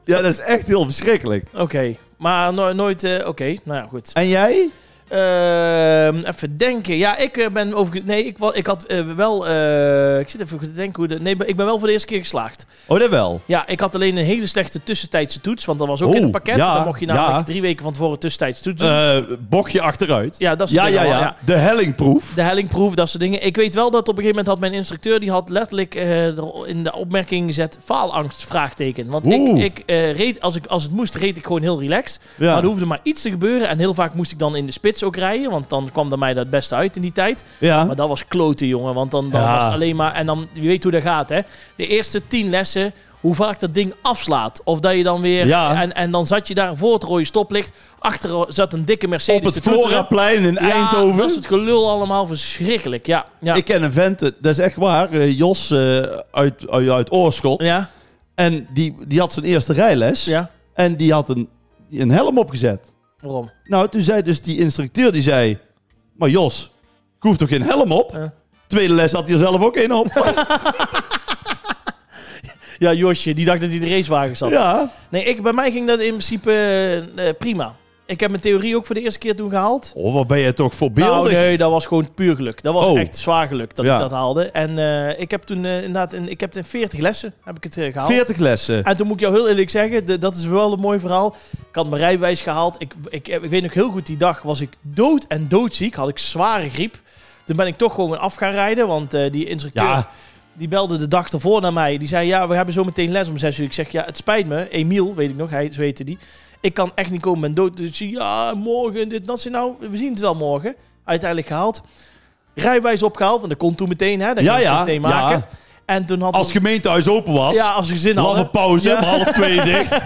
S3: ja, dat is echt heel verschrikkelijk.
S1: Oké, maar no- nooit... eh, Oké, nou ja, goed.
S3: En jij?
S1: Ehm, even denken. Ja, ik eh, ben over. Nee, ik, wa- ik had eh, wel. eh, ik zit even te denken hoe. De, nee, ik ben wel voor de eerste keer geslaagd.
S3: Oh, dat wel.
S1: Ja, ik had alleen een hele slechte tussentijdse toets. Want dat was ook
S3: Oh,
S1: in het pakket.
S3: ja,
S1: Dan mocht je namelijk
S3: ja.
S1: drie weken van tevoren tussentijds toets doen.
S3: Eh bochtje achteruit.
S1: ja, dat is
S3: Ja, ja, ja. De hellingproef.
S1: De hellingproef, dat soort dingen. Ik weet wel dat op een gegeven moment had mijn instructeur... die had letterlijk eh, er in de opmerking gezet... faalangst, vraagteken. Want ik,
S3: Oeh.
S1: ik, eh, reed, als, ik, als het moest, reed ik gewoon heel relaxed.
S3: Ja.
S1: Maar er hoefde maar iets te gebeuren. En heel vaak moest ik dan in de spits ook rijden. Want dan kwam er mij dat beste uit in die tijd.
S3: Ja.
S1: Maar dat was kloten, jongen. Want dan, dan
S3: Ja.
S1: was het alleen maar... En dan, je weet hoe dat gaat, hè. De eerste tien lessen, hoe vaak dat ding afslaat. Of dat je dan weer...
S3: Ja.
S1: En, en dan zat je daar voor het rode stoplicht. Achter zat een dikke Mercedes
S3: op het
S1: te toeteren.
S3: Floraplein in
S1: Ja,
S3: Eindhoven.
S1: dat is het gelul allemaal verschrikkelijk. Ja, ja.
S3: Ik ken een vent, eh, dat is echt waar, eh, Jos eh, uit, uit, uit Oorschot.
S1: ja,
S3: En die, die had zijn eerste rijles.
S1: ja.
S3: En die had een, een helm opgezet.
S1: Waarom?
S3: Nou, toen zei dus die instructeur, die zei... Maar Jos, ik hoef toch geen helm op?
S1: Ja.
S3: Tweede les had hij er zelf ook een
S1: (laughs)
S3: op.
S1: Ja, Josje, die dacht dat hij de racewagen zat.
S3: ja.
S1: Nee, ik, bij mij ging dat in principe eh, eh, prima. Ik heb mijn theorie ook voor de eerste keer toen gehaald.
S3: Oh, wat ben je toch
S1: Nou,
S3: voorbeeldig.
S1: nee, dat was gewoon puur geluk. Dat was
S3: Oh.
S1: echt zwaar geluk dat
S3: Ja.
S1: ik dat haalde. En eh, ik heb toen eh, inderdaad in, ik heb in 40 lessen heb ik het eh, gehaald.
S3: 40 lessen.
S1: En toen moet ik jou heel eerlijk zeggen, de- dat is wel een mooi verhaal. Ik had mijn rijbewijs gehaald. Ik, ik, ik weet nog heel goed, die dag was ik dood en doodziek. Had ik zware griep. Toen ben ik toch gewoon af gaan rijden, want eh, die instructeur...
S3: Ja,
S1: Die belde de dag ervoor naar mij. Die zei, ja, we hebben zo meteen les om zes uur. Ik zeg, ja, het spijt me. Emiel, weet ik nog, hij, zo heette die. Ik kan echt niet komen, ben dood. Dus ik zei, ja, morgen, dit, dat. Ik zei, nou, we zien het wel morgen. Uiteindelijk gehaald. Rijwijs opgehaald, want dat kon toen meteen, hè. Dat
S3: Ja,
S1: ja, ja,
S3: ja,
S1: meteen
S3: ja.
S1: maken. En toen had
S3: Als
S1: ons-
S3: gemeentehuis open was,
S1: ja, als gezin
S3: lange
S1: hadden.
S3: pauze,
S1: Ja.
S3: om half twee dicht.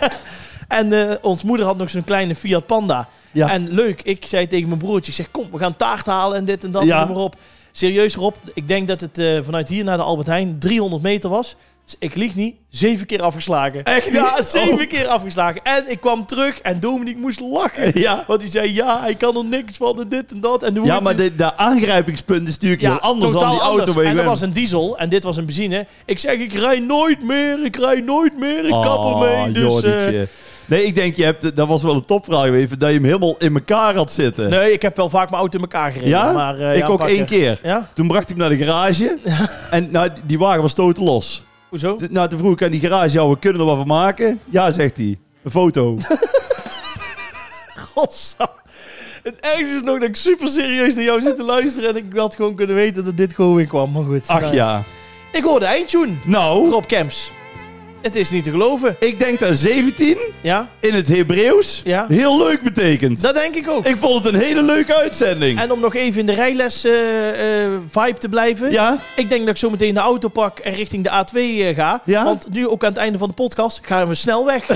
S1: En eh, ons moeder had nog zo'n kleine Fiat Panda.
S3: Ja.
S1: En leuk, ik zei tegen mijn broertje, ik zeg, kom, we gaan taart halen en dit en dat,
S3: Ja.
S1: noem maar op. Serieus Rob, ik denk dat het eh, vanuit hier naar de Albert Heijn 300 meter was. Dus ik lieg niet, zeven keer afgeslagen.
S3: Echt niet?
S1: Ja, zeven
S3: Oh.
S1: keer afgeslagen. En ik kwam terug en Dominique moest lachen.
S3: Ja.
S1: Want die zei, (laughs) ja, hij kan er niks van en dit en dat. En hoe
S3: Ja,
S1: het-
S3: maar de, de aangrijpingspunt is natuurlijk heel anders dan die auto. waar je
S1: En dat
S3: bent.
S1: was een diesel en dit was een benzine. Ik zeg, ik rij nooit meer, ik rij nooit meer, ik kap
S3: Ah,
S1: ermee. Dus, eh,
S3: Jordietje. nee, ik denk, je hebt, dat was wel een topvraag even, dat je hem helemaal in elkaar had zitten.
S1: Nee, ik heb wel vaak mijn auto in elkaar gereden.
S3: ja?
S1: maar, eh,
S3: ik
S1: ja,
S3: ook
S1: pakken.
S3: één keer.
S1: Ja?
S3: Toen bracht hij hem naar
S1: (laughs)
S3: de garage en nou, die- die wagen was totaal los.
S1: Hoezo?
S3: T- Nou, toen vroeg ik aan die garage, ja, we kunnen er wat van maken? Ja, zegt hij. Een
S1: (laughs)
S3: foto.
S1: Godsam. Het ergste is nog dat ik super serieus naar jou zit te luisteren en ik had gewoon kunnen weten dat dit gewoon weer kwam. Maar goed.
S3: Ach
S1: nou
S3: ja.
S1: Ik hoorde eindtune.
S3: Nou,
S1: Rob Kemps. Het is niet te geloven.
S3: ik denk dat 17
S1: Ja,
S3: in het Hebreeuws
S1: Ja.
S3: heel leuk betekent.
S1: dat denk ik ook.
S3: Ik vond het een hele leuke uitzending.
S1: En om nog even in de rijles eh, eh, vibe te blijven.
S3: Ja?
S1: Ik denk dat ik zo meteen de auto pak en richting de A2 eh, ga.
S3: Ja?
S1: Want nu ook aan het einde van de podcast gaan we snel weg.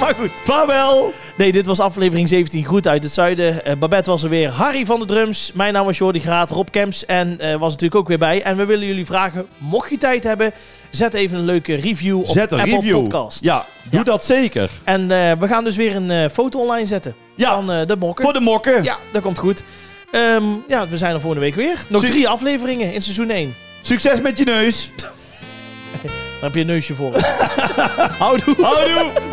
S1: maar goed.
S3: Vaarwel!
S1: Nee, dit was aflevering 17. Groet uit het zuiden. Eh, Babette was er weer. Harry van de Drums. Mijn naam was Jordi Graat. Rob Kemps. En eh, was natuurlijk ook weer bij. En we willen jullie vragen, mocht je tijd hebben, zet even een leuke review op
S3: Zet een
S1: Apple
S3: review.
S1: Podcast.
S3: Ja, doe
S1: Ja.
S3: dat zeker.
S1: En eh, we gaan dus weer een eh, foto online zetten
S3: Ja,
S1: van eh, de mokken.
S3: voor de
S2: oh,
S3: mokken.
S1: Ja, dat komt goed. Ehm, ja, we zijn er volgende week weer. Nog
S3: Zie-
S1: drie afleveringen in seizoen 1.
S3: Succes met je neus.
S1: Daar heb je een neusje voor. Houdoe.
S3: Houdoe!